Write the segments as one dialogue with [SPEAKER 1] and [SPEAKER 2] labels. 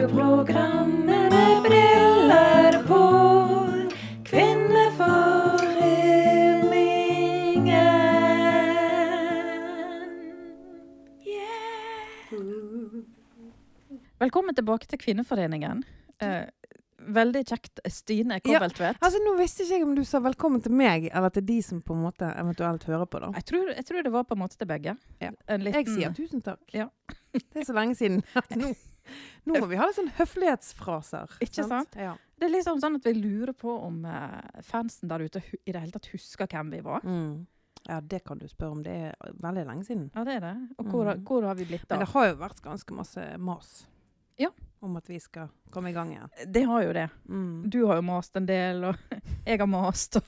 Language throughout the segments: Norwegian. [SPEAKER 1] Radioprogrammet med briller på. Kvinneforeningen.
[SPEAKER 2] Velkommen tilbake til Kvinneforeningen. Eh, veldig kjekt, Stine
[SPEAKER 3] Ja,
[SPEAKER 2] Kobbeltvedt.
[SPEAKER 3] Altså, Nå visste ikke jeg om du sa velkommen til meg, eller til de som på en måte eventuelt hører på. da.
[SPEAKER 2] jeg, tror, jeg tror det var på en måte til begge.
[SPEAKER 3] Ja.
[SPEAKER 2] En liten-
[SPEAKER 3] Jeg sier tusen takk.
[SPEAKER 2] Ja.
[SPEAKER 3] Det er så lenge siden. at Nå, nå må vi ha litt sånn høflighetsfraser.
[SPEAKER 2] Ikke sant?
[SPEAKER 3] Ja.
[SPEAKER 2] Det er liksom sånn at vi lurer på om eh, fansen der ute hu- i det hele tatt husker hvem vi var.
[SPEAKER 3] Mm. ja, det kan du spørre om. Det er veldig lenge siden.
[SPEAKER 2] Ja, det er det. Og hvor,
[SPEAKER 3] Mm.
[SPEAKER 2] hvor har vi blitt
[SPEAKER 3] Men
[SPEAKER 2] av?
[SPEAKER 3] det har jo vært ganske masse mas
[SPEAKER 2] Ja.
[SPEAKER 3] om at vi skal komme i gang igjen.
[SPEAKER 2] Det har jo det.
[SPEAKER 3] Mm.
[SPEAKER 2] Du har jo mast en del, og jeg har mast. Og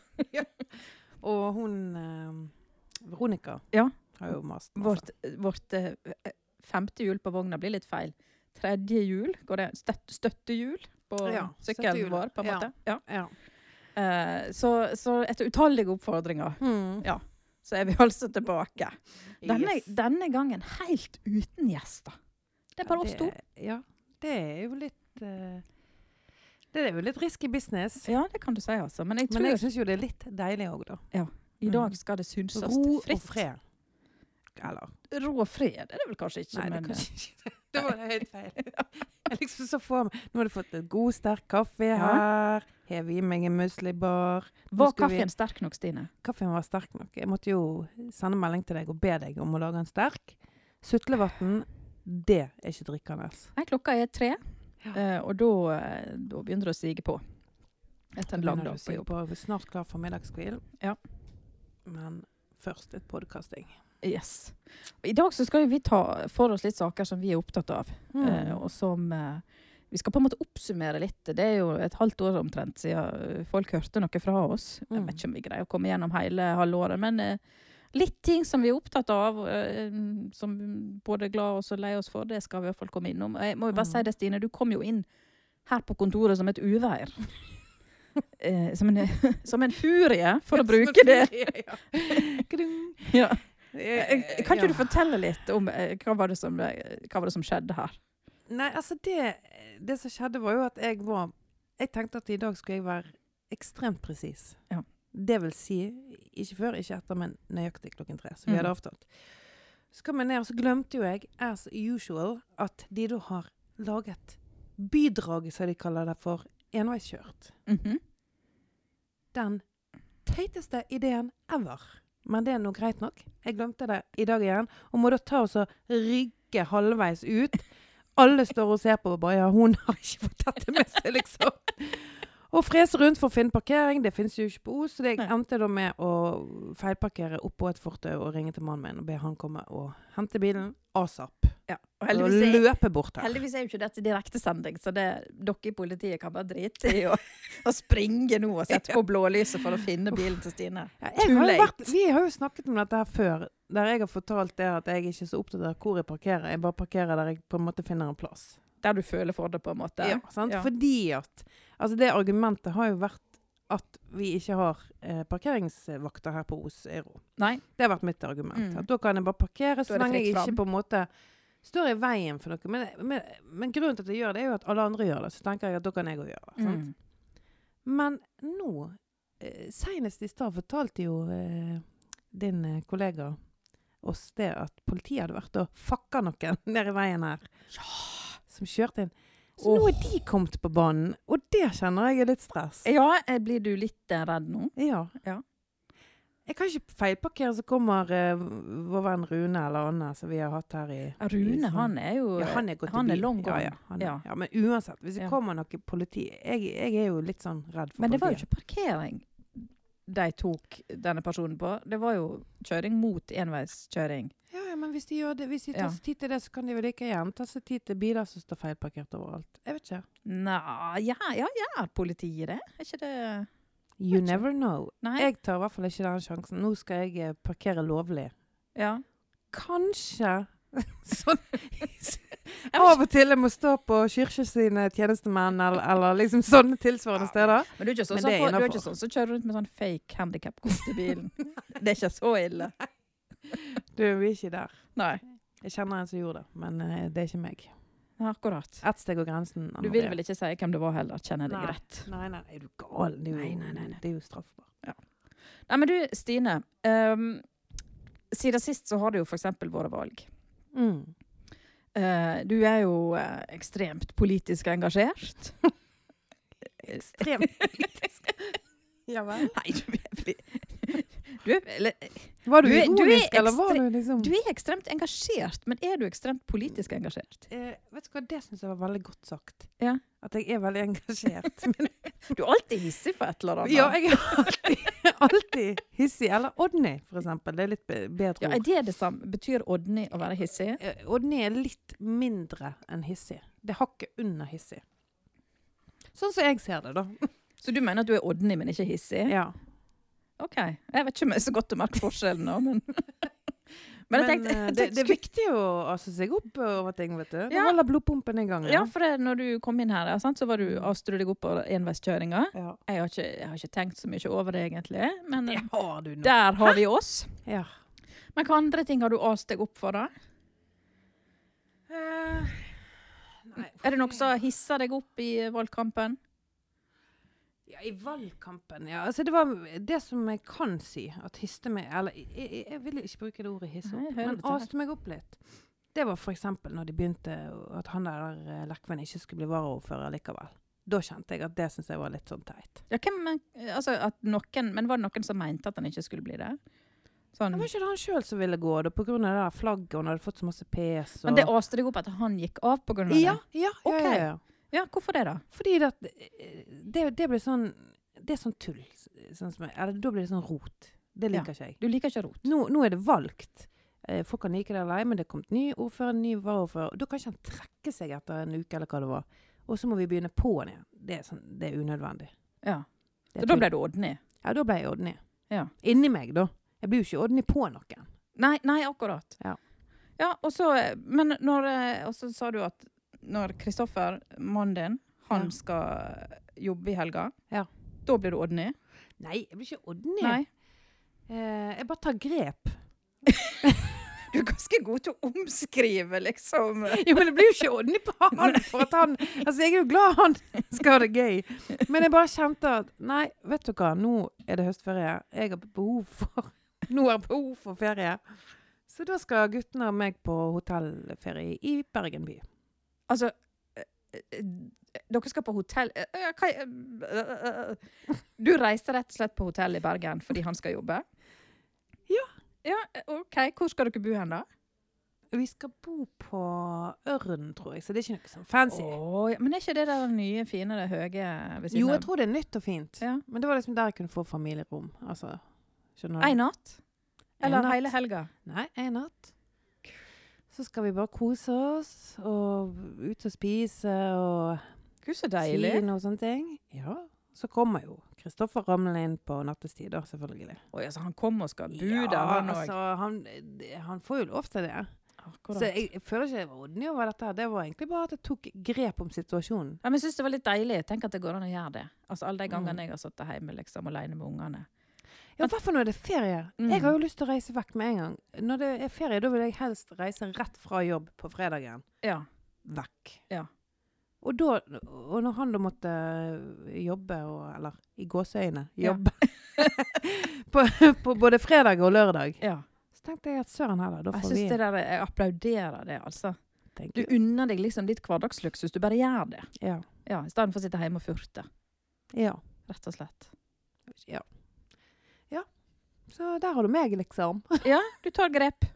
[SPEAKER 3] Og hun eh, Veronica
[SPEAKER 2] Ja.
[SPEAKER 3] har jo mast masse.
[SPEAKER 2] vårt vårt eh, femte hjul på vogna blir litt feil. Tredje hjul, går det? Støtt, støttehjul på
[SPEAKER 3] Ja,
[SPEAKER 2] sykkelen
[SPEAKER 3] støttehjulet.
[SPEAKER 2] vår, på en
[SPEAKER 3] Ja.
[SPEAKER 2] måte. Ja.
[SPEAKER 3] Ja.
[SPEAKER 2] Eh, så, så etter utallige oppfordringer,
[SPEAKER 3] Mm.
[SPEAKER 2] så er vi altså tilbake. Denne,
[SPEAKER 3] Yes.
[SPEAKER 2] denne gangen helt uten gjester. Det er bare
[SPEAKER 3] Ja,
[SPEAKER 2] oss to.
[SPEAKER 3] Ja, det er jo litt eh, Det er jo litt risky business.
[SPEAKER 2] Ja, det kan du si, altså. Men jeg Mm. tror
[SPEAKER 3] Men jeg syns jo det er litt deilig òg, da.
[SPEAKER 2] i dag skal det synses
[SPEAKER 3] Ro
[SPEAKER 2] fritt.
[SPEAKER 3] og fred. Eller
[SPEAKER 2] Ro og fred er det vel kanskje ikke,
[SPEAKER 3] Nei, det
[SPEAKER 2] men eh,
[SPEAKER 3] er kanskje ikke det. Det var helt feil. Jeg liksom så for meg Nå har du fått en god, sterk kaffe her. Hev i meg en muslibar.
[SPEAKER 2] var
[SPEAKER 3] skal vi-
[SPEAKER 2] kaffen sterk nok, Stine?
[SPEAKER 3] Kaffen var sterk nok. Jeg måtte jo sende melding til deg og be deg om å lage en sterk. Sutlevann, det er ikke drikkende.
[SPEAKER 2] Nei, klokka er tre,
[SPEAKER 3] Ja.
[SPEAKER 2] eh, og da, eh, da begynner det å sige på. Etter en lang
[SPEAKER 3] Begynner
[SPEAKER 2] dag
[SPEAKER 3] du
[SPEAKER 2] på
[SPEAKER 3] sikkert
[SPEAKER 2] jobb.
[SPEAKER 3] på- Snart klar for middagskvil.
[SPEAKER 2] Ja.
[SPEAKER 3] Men først litt podkasting.
[SPEAKER 2] Yes. Og I dag så skal jo vi ta for oss litt saker som vi er opptatt av,
[SPEAKER 3] Mm.
[SPEAKER 2] eh, og som eh, vi skal på en måte oppsummere litt. Det er jo et halvt år omtrent siden eh, folk hørte noe fra oss. Jeg
[SPEAKER 3] Mm.
[SPEAKER 2] vet ikke om vi greier å komme gjennom hele halvåret, men eh, litt ting som vi er opptatt av, eh, som både er glad og så lei oss for, det skal vi i hvert fall komme innom. Og Jeg må jo bare
[SPEAKER 3] Mm.
[SPEAKER 2] si det, Stine, du kom jo inn her på kontoret som et uvær. Eh, som, en, som en furie, for å bruke det.
[SPEAKER 3] Ja. Kling.
[SPEAKER 2] Ja.
[SPEAKER 3] Eh, eh,
[SPEAKER 2] Kan ikke
[SPEAKER 3] ja.
[SPEAKER 2] du fortelle litt om eh, hva var det som, eh, hva var det som skjedde her?
[SPEAKER 3] Nei, altså det, det som skjedde var jo at jeg var Jeg tenkte at i dag skulle jeg være ekstremt presis.
[SPEAKER 2] Ja.
[SPEAKER 3] Det vil si ikke før, ikke etter, men nøyaktig klokken tre. Som vi
[SPEAKER 2] Mm.
[SPEAKER 3] hadde avtalt. Så kom jeg ned, og så glemte jo jeg, as usual, at de da har laget bidraget, som de kaller det, for enveiskjørt. den teiteste ideen ever. Men det er nå greit nok. Jeg glemte det i dag igjen, og må da ta oss og rygge halvveis ut. Alle står og ser på og bare ja, hun har ikke fått dette med seg, liksom. Og frese rundt for å finne parkering. Det fins jo ikke på Os, så jeg
[SPEAKER 2] Nei.
[SPEAKER 3] endte da med å feilparkere oppå et fortau og ringe til mannen min og be han komme og hente bilen asap.
[SPEAKER 2] Ja, og
[SPEAKER 3] Og
[SPEAKER 2] heldigvis er,
[SPEAKER 3] løpe bort her.
[SPEAKER 2] heldigvis er jo ikke dette direktesending, så det, dere i politiet kan bare drite i å å springe nå og sette på blålyset for å finne bilen til Stine.
[SPEAKER 3] Ja, jeg
[SPEAKER 2] Too
[SPEAKER 3] har jo
[SPEAKER 2] late.
[SPEAKER 3] vært, vi har jo snakket om dette her før, der jeg har fortalt det at jeg ikke er så opptatt av hvor jeg parkerer. Jeg bare parkerer der jeg på en måte finner en plass.
[SPEAKER 2] Der du føler for det, på en måte.
[SPEAKER 3] Ja, sant? Fordi at Altså, det argumentet har jo vært at vi ikke har eh, parkeringsvakter her på Os Euro.
[SPEAKER 2] Nei.
[SPEAKER 3] Det har vært mitt argument.
[SPEAKER 2] Mm.
[SPEAKER 3] At da kan jeg bare parkere
[SPEAKER 2] Da er
[SPEAKER 3] så
[SPEAKER 2] det
[SPEAKER 3] lenge jeg
[SPEAKER 2] fritt
[SPEAKER 3] ikke på en måte står i veien for noe. Men, men, men grunnen til at jeg gjør det, er jo at alle andre gjør det. Så tenker jeg at da kan jeg òg gjøre det. sant?
[SPEAKER 2] Mm.
[SPEAKER 3] Men nå, eh, senest i stad fortalte jo eh, din eh, kollega oss det at politiet hadde vært og fakka noen nede i veien her. Som kjørte inn. Så nå er de kommet på banen, og det kjenner jeg er litt stress.
[SPEAKER 2] Ja, eh, blir du litt eh, redd nå?
[SPEAKER 3] Ja.
[SPEAKER 2] Ja.
[SPEAKER 3] Jeg kan ikke feilparkere så kommer eh, vår venn Rune eller Anne som vi har hatt her i
[SPEAKER 2] Rune, han er jo eh,
[SPEAKER 3] ja, han er gått
[SPEAKER 2] Liksom. han
[SPEAKER 3] i
[SPEAKER 2] er
[SPEAKER 3] bil.
[SPEAKER 2] long gone.
[SPEAKER 3] Ja, ja, han er,
[SPEAKER 2] Ja.
[SPEAKER 3] ja. men uansett, hvis det
[SPEAKER 2] Ja.
[SPEAKER 3] kommer noe politi jeg, jeg er jo litt sånn redd for
[SPEAKER 2] Men det var jo
[SPEAKER 3] politiet.
[SPEAKER 2] ikke parkering de tok denne personen på. Det var jo kjøring mot enveiskjøring.
[SPEAKER 3] Ja, ja, men hvis de, gjør det, hvis de tar
[SPEAKER 2] Ja.
[SPEAKER 3] seg tid til det, så kan de vel like gjerne ta seg tid til biler som står feilparkert overalt. Jeg vet ikke.
[SPEAKER 2] Nei, ja, ja, ja, politiet det. Er ikke det Vet
[SPEAKER 3] You
[SPEAKER 2] ikke.
[SPEAKER 3] never know.
[SPEAKER 2] Nei.
[SPEAKER 3] Jeg tar i hvert fall ikke den sjansen. Nå skal jeg eh, parkere lovlig.
[SPEAKER 2] ja.
[SPEAKER 3] Kanskje sånn
[SPEAKER 2] vet
[SPEAKER 3] Av og til jeg må stå på kirke sine tjenestemenn eller, eller liksom sånne tilsvarende steder.
[SPEAKER 2] Men du er ikke sånn
[SPEAKER 3] Men
[SPEAKER 2] som
[SPEAKER 3] det er
[SPEAKER 2] får- du er
[SPEAKER 3] innenfor.
[SPEAKER 2] ikke sånn som kjører rundt med sånn fake handikapkort i bilen. det er ikke så ille.
[SPEAKER 3] Du, vi er ikke der.
[SPEAKER 2] Nei.
[SPEAKER 3] Jeg kjenner en som gjorde det, men eh, det er ikke meg.
[SPEAKER 2] Ja, akkurat.
[SPEAKER 3] Ett steg og grensen.
[SPEAKER 2] Du vil vel ikke si hvem det var heller, kjenner jeg
[SPEAKER 3] Nei.
[SPEAKER 2] deg rett.
[SPEAKER 3] Nei, nei, er du gal? Det er jo,
[SPEAKER 2] Nei, nei, nei, nei.
[SPEAKER 3] Det er jo straffbart.
[SPEAKER 2] Nei, men du, Stine. ehm, siden sist så har det jo for eksempel vært valg.
[SPEAKER 3] Mm.
[SPEAKER 2] Eh, du er jo eh, ekstremt politisk engasjert.
[SPEAKER 3] Ekstremt politisk. ja vel.
[SPEAKER 2] Nei, du er vel- du er, eller,
[SPEAKER 3] Var du,
[SPEAKER 2] Du er- du er
[SPEAKER 3] ironisk, eller var
[SPEAKER 2] ekstre-
[SPEAKER 3] du liksom
[SPEAKER 2] du er ekstremt engasjert, men er du ekstremt politisk engasjert?
[SPEAKER 3] eh, Vet du hva, det syns jeg var veldig godt sagt.
[SPEAKER 2] Ja.
[SPEAKER 3] At jeg er veldig engasjert. Men,
[SPEAKER 2] Du er alltid hissig på et eller annet.
[SPEAKER 3] ja, jeg er alltid, alltid hissig. Eller Odny, for eksempel. Det er litt be- bedre
[SPEAKER 2] Ja,
[SPEAKER 3] ord.
[SPEAKER 2] er det det samme? Betyr Odny å være hissig?
[SPEAKER 3] Eh, Odny er litt mindre enn hissig. Det er hakket under hissig. Sånn som jeg ser det, da.
[SPEAKER 2] Så du mener at du er Odny, men ikke hissig?
[SPEAKER 3] Ja.
[SPEAKER 2] Ok. Jeg vet ikke om jeg er så godt å merke forskjellen nå, men Men jeg tenkte,
[SPEAKER 3] eh,
[SPEAKER 2] jeg
[SPEAKER 3] det, det
[SPEAKER 2] tenkte
[SPEAKER 3] er viktig å altså, seg opp over ting, vet du. Det
[SPEAKER 2] Ja.
[SPEAKER 3] holder blodpumpen i gang.
[SPEAKER 2] skulle- Ja, for det, når du kom inn her, ja, sant, så var du avstro deg opp på enveiskjøringa.
[SPEAKER 3] Ja.
[SPEAKER 2] Jeg, har ikke- jeg har ikke tenkt så mye over det, egentlig, men
[SPEAKER 3] Det har du nå.
[SPEAKER 2] der har vi oss.
[SPEAKER 3] Ja.
[SPEAKER 2] Men hva andre ting har du ast deg opp for, da?
[SPEAKER 3] Eh, nei.
[SPEAKER 2] Er det noe som hisser deg opp i valgkampen?
[SPEAKER 3] Ja, I valgkampen, ja. Altså, det var det som jeg kan si at histe meg Eller jeg, jeg, jeg vil ikke bruke det ordet hisse
[SPEAKER 2] Nei, jeg
[SPEAKER 3] opp,
[SPEAKER 2] hører
[SPEAKER 3] men
[SPEAKER 2] det til her.
[SPEAKER 3] aste meg opp litt. Det var f.eks. når de begynte at han der eh, Lekven ikke skulle bli varaordfører likevel. Da kjente jeg at det syns jeg var litt sånn teit.
[SPEAKER 2] Ja, hvem, men, altså, at noen, men var det noen som mente at han ikke skulle bli det? Sånn,
[SPEAKER 3] Det var ikke det han sjøl som ville gå, da, på grunn av det der flagget, og han hadde fått så masse pes og
[SPEAKER 2] men det aste deg opp at han gikk av på grunn av
[SPEAKER 3] Ja,
[SPEAKER 2] det?
[SPEAKER 3] ja, ja,
[SPEAKER 2] Ok.
[SPEAKER 3] ja, ja.
[SPEAKER 2] Ja, hvorfor det, da?
[SPEAKER 3] Fordi det, at, eh, det, det blir sånn Det er sånn tull. Sånn som jeg, eller da blir det sånn rot. Det
[SPEAKER 2] Ja.
[SPEAKER 3] liker ikke jeg.
[SPEAKER 2] Du liker ikke rot.
[SPEAKER 3] Nå, nå er det valgt. Eh, Folk kan like det eller ei, men det er kommet ny ordfører, ny varaordfører. Da kan ikke han trekke seg etter en uke eller hva det var. Og så må vi begynne på'n igjen. Det er, sånn, det er unødvendig.
[SPEAKER 2] Ja.
[SPEAKER 3] Det
[SPEAKER 2] Så
[SPEAKER 3] er
[SPEAKER 2] da
[SPEAKER 3] tull.
[SPEAKER 2] ble du Odny?
[SPEAKER 3] ja, da ble jeg Odny.
[SPEAKER 2] Ja.
[SPEAKER 3] Inni meg, da. Jeg blir jo ikke Odny på noen.
[SPEAKER 2] Nei, nei, akkurat.
[SPEAKER 3] Ja.
[SPEAKER 2] Ja, og så, men når, eh, og så sa du at når Kristoffer, mannen din, han
[SPEAKER 3] Ja.
[SPEAKER 2] skal jobbe i helga,
[SPEAKER 3] Ja.
[SPEAKER 2] da blir du Odny?
[SPEAKER 3] Nei, jeg blir ikke Odny.
[SPEAKER 2] Nei.
[SPEAKER 3] Eh, jeg bare tar grep.
[SPEAKER 2] Du er ganske god til å omskrive, liksom.
[SPEAKER 3] Jo, men det blir jo ikke Odny på han, for at han Altså, jeg er jo glad han skal ha det gøy, men jeg bare kjente at Nei, vet du hva, nå er det høstferie. Jeg har behov for Nå har jeg behov for ferie. Så da skal guttene og meg på hotellferie i Bergen by.
[SPEAKER 2] Altså, eh, eh, dere skal på hotell eh, eh, hva, eh, eh, eh, Du reiser rett og slett på hotell i Bergen fordi han skal jobbe?
[SPEAKER 3] Ja.
[SPEAKER 2] Ja, eh, OK. Hvor skal dere bo hen, da?
[SPEAKER 3] Vi skal bo på Ørn, tror jeg, så det er ikke noe sånn fancy.
[SPEAKER 2] Å, ja, men er ikke det der nye, fine, det høye ved siden
[SPEAKER 3] Jo, jeg
[SPEAKER 2] av?
[SPEAKER 3] tror det er nytt og fint,
[SPEAKER 2] Ja.
[SPEAKER 3] men det var liksom der jeg kunne få familierom. Altså, skjønner du?
[SPEAKER 2] En natt? Eller
[SPEAKER 3] En natt.
[SPEAKER 2] hele helga?
[SPEAKER 3] Nei, en natt. Så skal vi bare kose oss, og ut og spise og
[SPEAKER 2] Gud, så deilig.
[SPEAKER 3] kino og sånne ting. Ja. Så kommer jo Kristoffer ramlende inn på nattestid, da, selvfølgelig.
[SPEAKER 2] Oi, altså, han kom og skal bu der,
[SPEAKER 3] ja,
[SPEAKER 2] han òg.
[SPEAKER 3] altså, han, han får jo lov til det. Så
[SPEAKER 2] Akkurat.
[SPEAKER 3] jeg, jeg føler ikke det var Odny over dette. her. Det var egentlig bare at jeg tok grep om situasjonen.
[SPEAKER 2] Ja, men jeg syns det var litt deilig. Tenk at det går an å gjøre det. Altså, Alle de gangene
[SPEAKER 3] Mm.
[SPEAKER 2] jeg har sittet hjemme liksom, alene med ungene.
[SPEAKER 3] Ja, I hvert fall når det er ferie.
[SPEAKER 2] Mm.
[SPEAKER 3] Jeg har jo lyst til å reise vekk med en gang. Når det er ferie, da vil jeg helst reise rett fra jobb på fredagen.
[SPEAKER 2] Ja.
[SPEAKER 3] vekk.
[SPEAKER 2] Ja.
[SPEAKER 3] Og, da, og når han da måtte eh, jobbe, og, eller i gåseøyne,
[SPEAKER 2] Ja.
[SPEAKER 3] jobbe på, på både fredag og lørdag,
[SPEAKER 2] ja.
[SPEAKER 3] så tenkte jeg at søren heller, da
[SPEAKER 2] Jeg
[SPEAKER 3] får vi
[SPEAKER 2] synes det der, jeg applauderer det, altså.
[SPEAKER 3] Thank
[SPEAKER 2] Du
[SPEAKER 3] you.
[SPEAKER 2] unner deg liksom litt hverdagsluksus. Du bare gjør det.
[SPEAKER 3] Ja.
[SPEAKER 2] Ja, I stedet for å sitte hjemme og furte.
[SPEAKER 3] Ja.
[SPEAKER 2] Rett og slett.
[SPEAKER 3] ja. Ja. Så der har du meg, liksom.
[SPEAKER 2] Ja, du tar grep.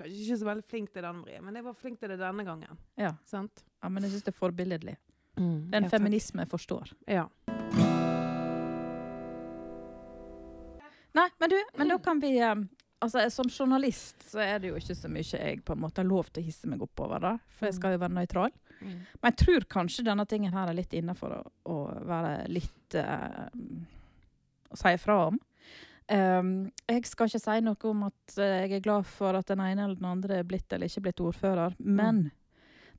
[SPEAKER 3] Kanskje ikke så veldig flink til det, Anne Marie, men jeg var flink til det denne gangen.
[SPEAKER 2] Ja. Mm.
[SPEAKER 3] Sant?
[SPEAKER 2] ja, men jeg syns det er forbilledlig. Det er en feminisme jeg forstår.
[SPEAKER 3] Ja.
[SPEAKER 2] Nei, men du, men da kan vi eh, Altså, Som journalist så er det jo ikke så mye jeg på en måte har lov til å hisse meg opp over, da. For jeg skal jo være nøytral. Men jeg tror kanskje denne tingen her er litt innafor å, å være litt eh, Å si ifra om. Ehm, jeg skal ikke si noe om at eh, jeg er glad for at den ene eller den andre er blitt eller ikke blitt ordfører, men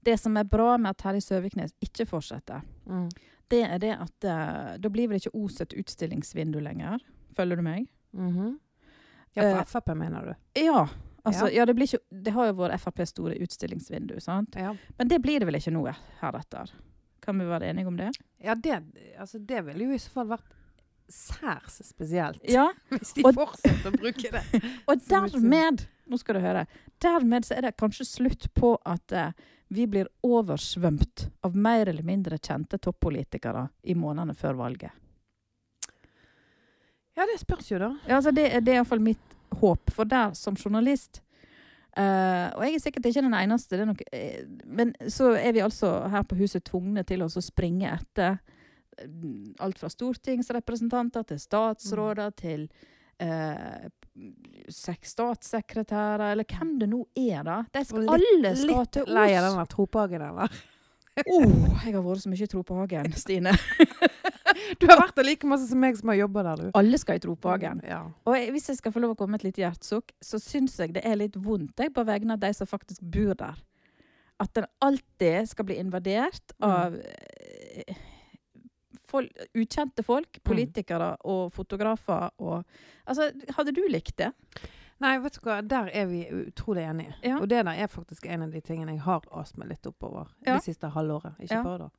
[SPEAKER 2] det som er bra med at Terje Søviknes ikke fortsetter,
[SPEAKER 3] Mm.
[SPEAKER 2] det er det at eh, da blir vel ikke Os et utstillingsvindu lenger. Følger du meg?
[SPEAKER 3] Mhm. Mm-hmm. Ja, for
[SPEAKER 2] Eh,
[SPEAKER 3] Frp, mener du?
[SPEAKER 2] Ja. Altså, ja. det, blir ikke, det har jo vært FrPs store utstillingsvindu, sant?
[SPEAKER 3] Ja,
[SPEAKER 2] men det blir det vel ikke nå heretter? Kan vi være enige om det?
[SPEAKER 3] ja det, altså, det ville jo i så fall vært særs spesielt.
[SPEAKER 2] Ja,
[SPEAKER 3] Hvis de
[SPEAKER 2] og-
[SPEAKER 3] fortsetter å bruke det.
[SPEAKER 2] og
[SPEAKER 3] Som utstilling.
[SPEAKER 2] dermed, nå skal du høre, dermed så er det kanskje slutt på at eh, vi blir oversvømt av mer eller mindre kjente toppolitikere i månedene før valget.
[SPEAKER 3] Ja, det spørs jo, da.
[SPEAKER 2] Ja, altså det, er- det er iallfall mitt håp for deg som journalist. Eh, og jeg er sikkert ikke den eneste, det er nok, eh, men så er vi altså her på huset tvungne til oss å springe etter eh, alt fra stortingsrepresentanter til statsråder til eh, sek- statssekretærer, eller hvem det nå er, da. De skal,
[SPEAKER 3] Og
[SPEAKER 2] alle skal
[SPEAKER 3] Litt
[SPEAKER 2] til
[SPEAKER 3] lei av
[SPEAKER 2] Os.
[SPEAKER 3] den der tropagen, eller?
[SPEAKER 2] Oh, jeg har vært så mye i Tropehagen, Stine.
[SPEAKER 3] Du har vært der like masse som meg som har jobba der, du.
[SPEAKER 2] Alle skal i Tropehagen.
[SPEAKER 3] Ja.
[SPEAKER 2] Og jeg, hvis jeg skal få lov å komme med et lite hjertesukk, så syns jeg det er litt vondt jeg, på vegne av de som faktisk bor der. At den alltid skal bli invadert av eh, fol ukjente folk, politikere og fotografer og Altså, hadde du likt det?
[SPEAKER 3] Nei, vet du hva, der er vi utrolig enige.
[SPEAKER 2] Ja.
[SPEAKER 3] Og det der er faktisk en av de tingene jeg har ast meg litt oppover
[SPEAKER 2] Ja.
[SPEAKER 3] det siste halvåret. Ikke
[SPEAKER 2] Ja.
[SPEAKER 3] bare da.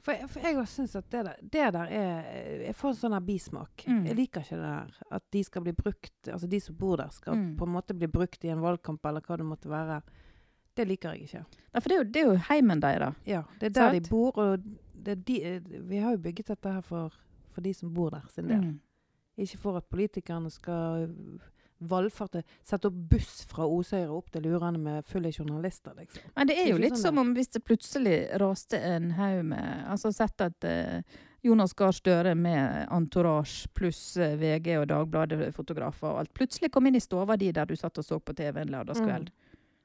[SPEAKER 3] For jeg, for jeg også syns at det der, det der er Jeg får en sånn her bismak.
[SPEAKER 2] Mm.
[SPEAKER 3] Jeg liker ikke det der at de skal bli brukt Altså de som bor der, skal
[SPEAKER 2] Mm.
[SPEAKER 3] på en måte bli brukt i en valgkamp eller hva det måtte være. Det liker jeg ikke.
[SPEAKER 2] Nei, for det er jo, det er jo heimen deres.
[SPEAKER 3] Ja, Det er der
[SPEAKER 2] Sant?
[SPEAKER 3] de bor, og det er de, eh, vi har jo bygget dette her for, for de som bor der sin del.
[SPEAKER 2] Mm.
[SPEAKER 3] Ikke for at politikerne skal valfarte Sette opp buss fra Osøyra opp til Lurane med fulle journalister, liksom.
[SPEAKER 2] Men det er jo
[SPEAKER 3] Ikke
[SPEAKER 2] litt
[SPEAKER 3] sånn
[SPEAKER 2] som
[SPEAKER 3] det.
[SPEAKER 2] om hvis det plutselig raste en haug med Altså sett at eh, Jonas Gahr Støre med entourage pluss eh, VG og Dagbladet-fotografer og alt, plutselig kom inn i stova di der du satt og så på TV en lørdagskveld.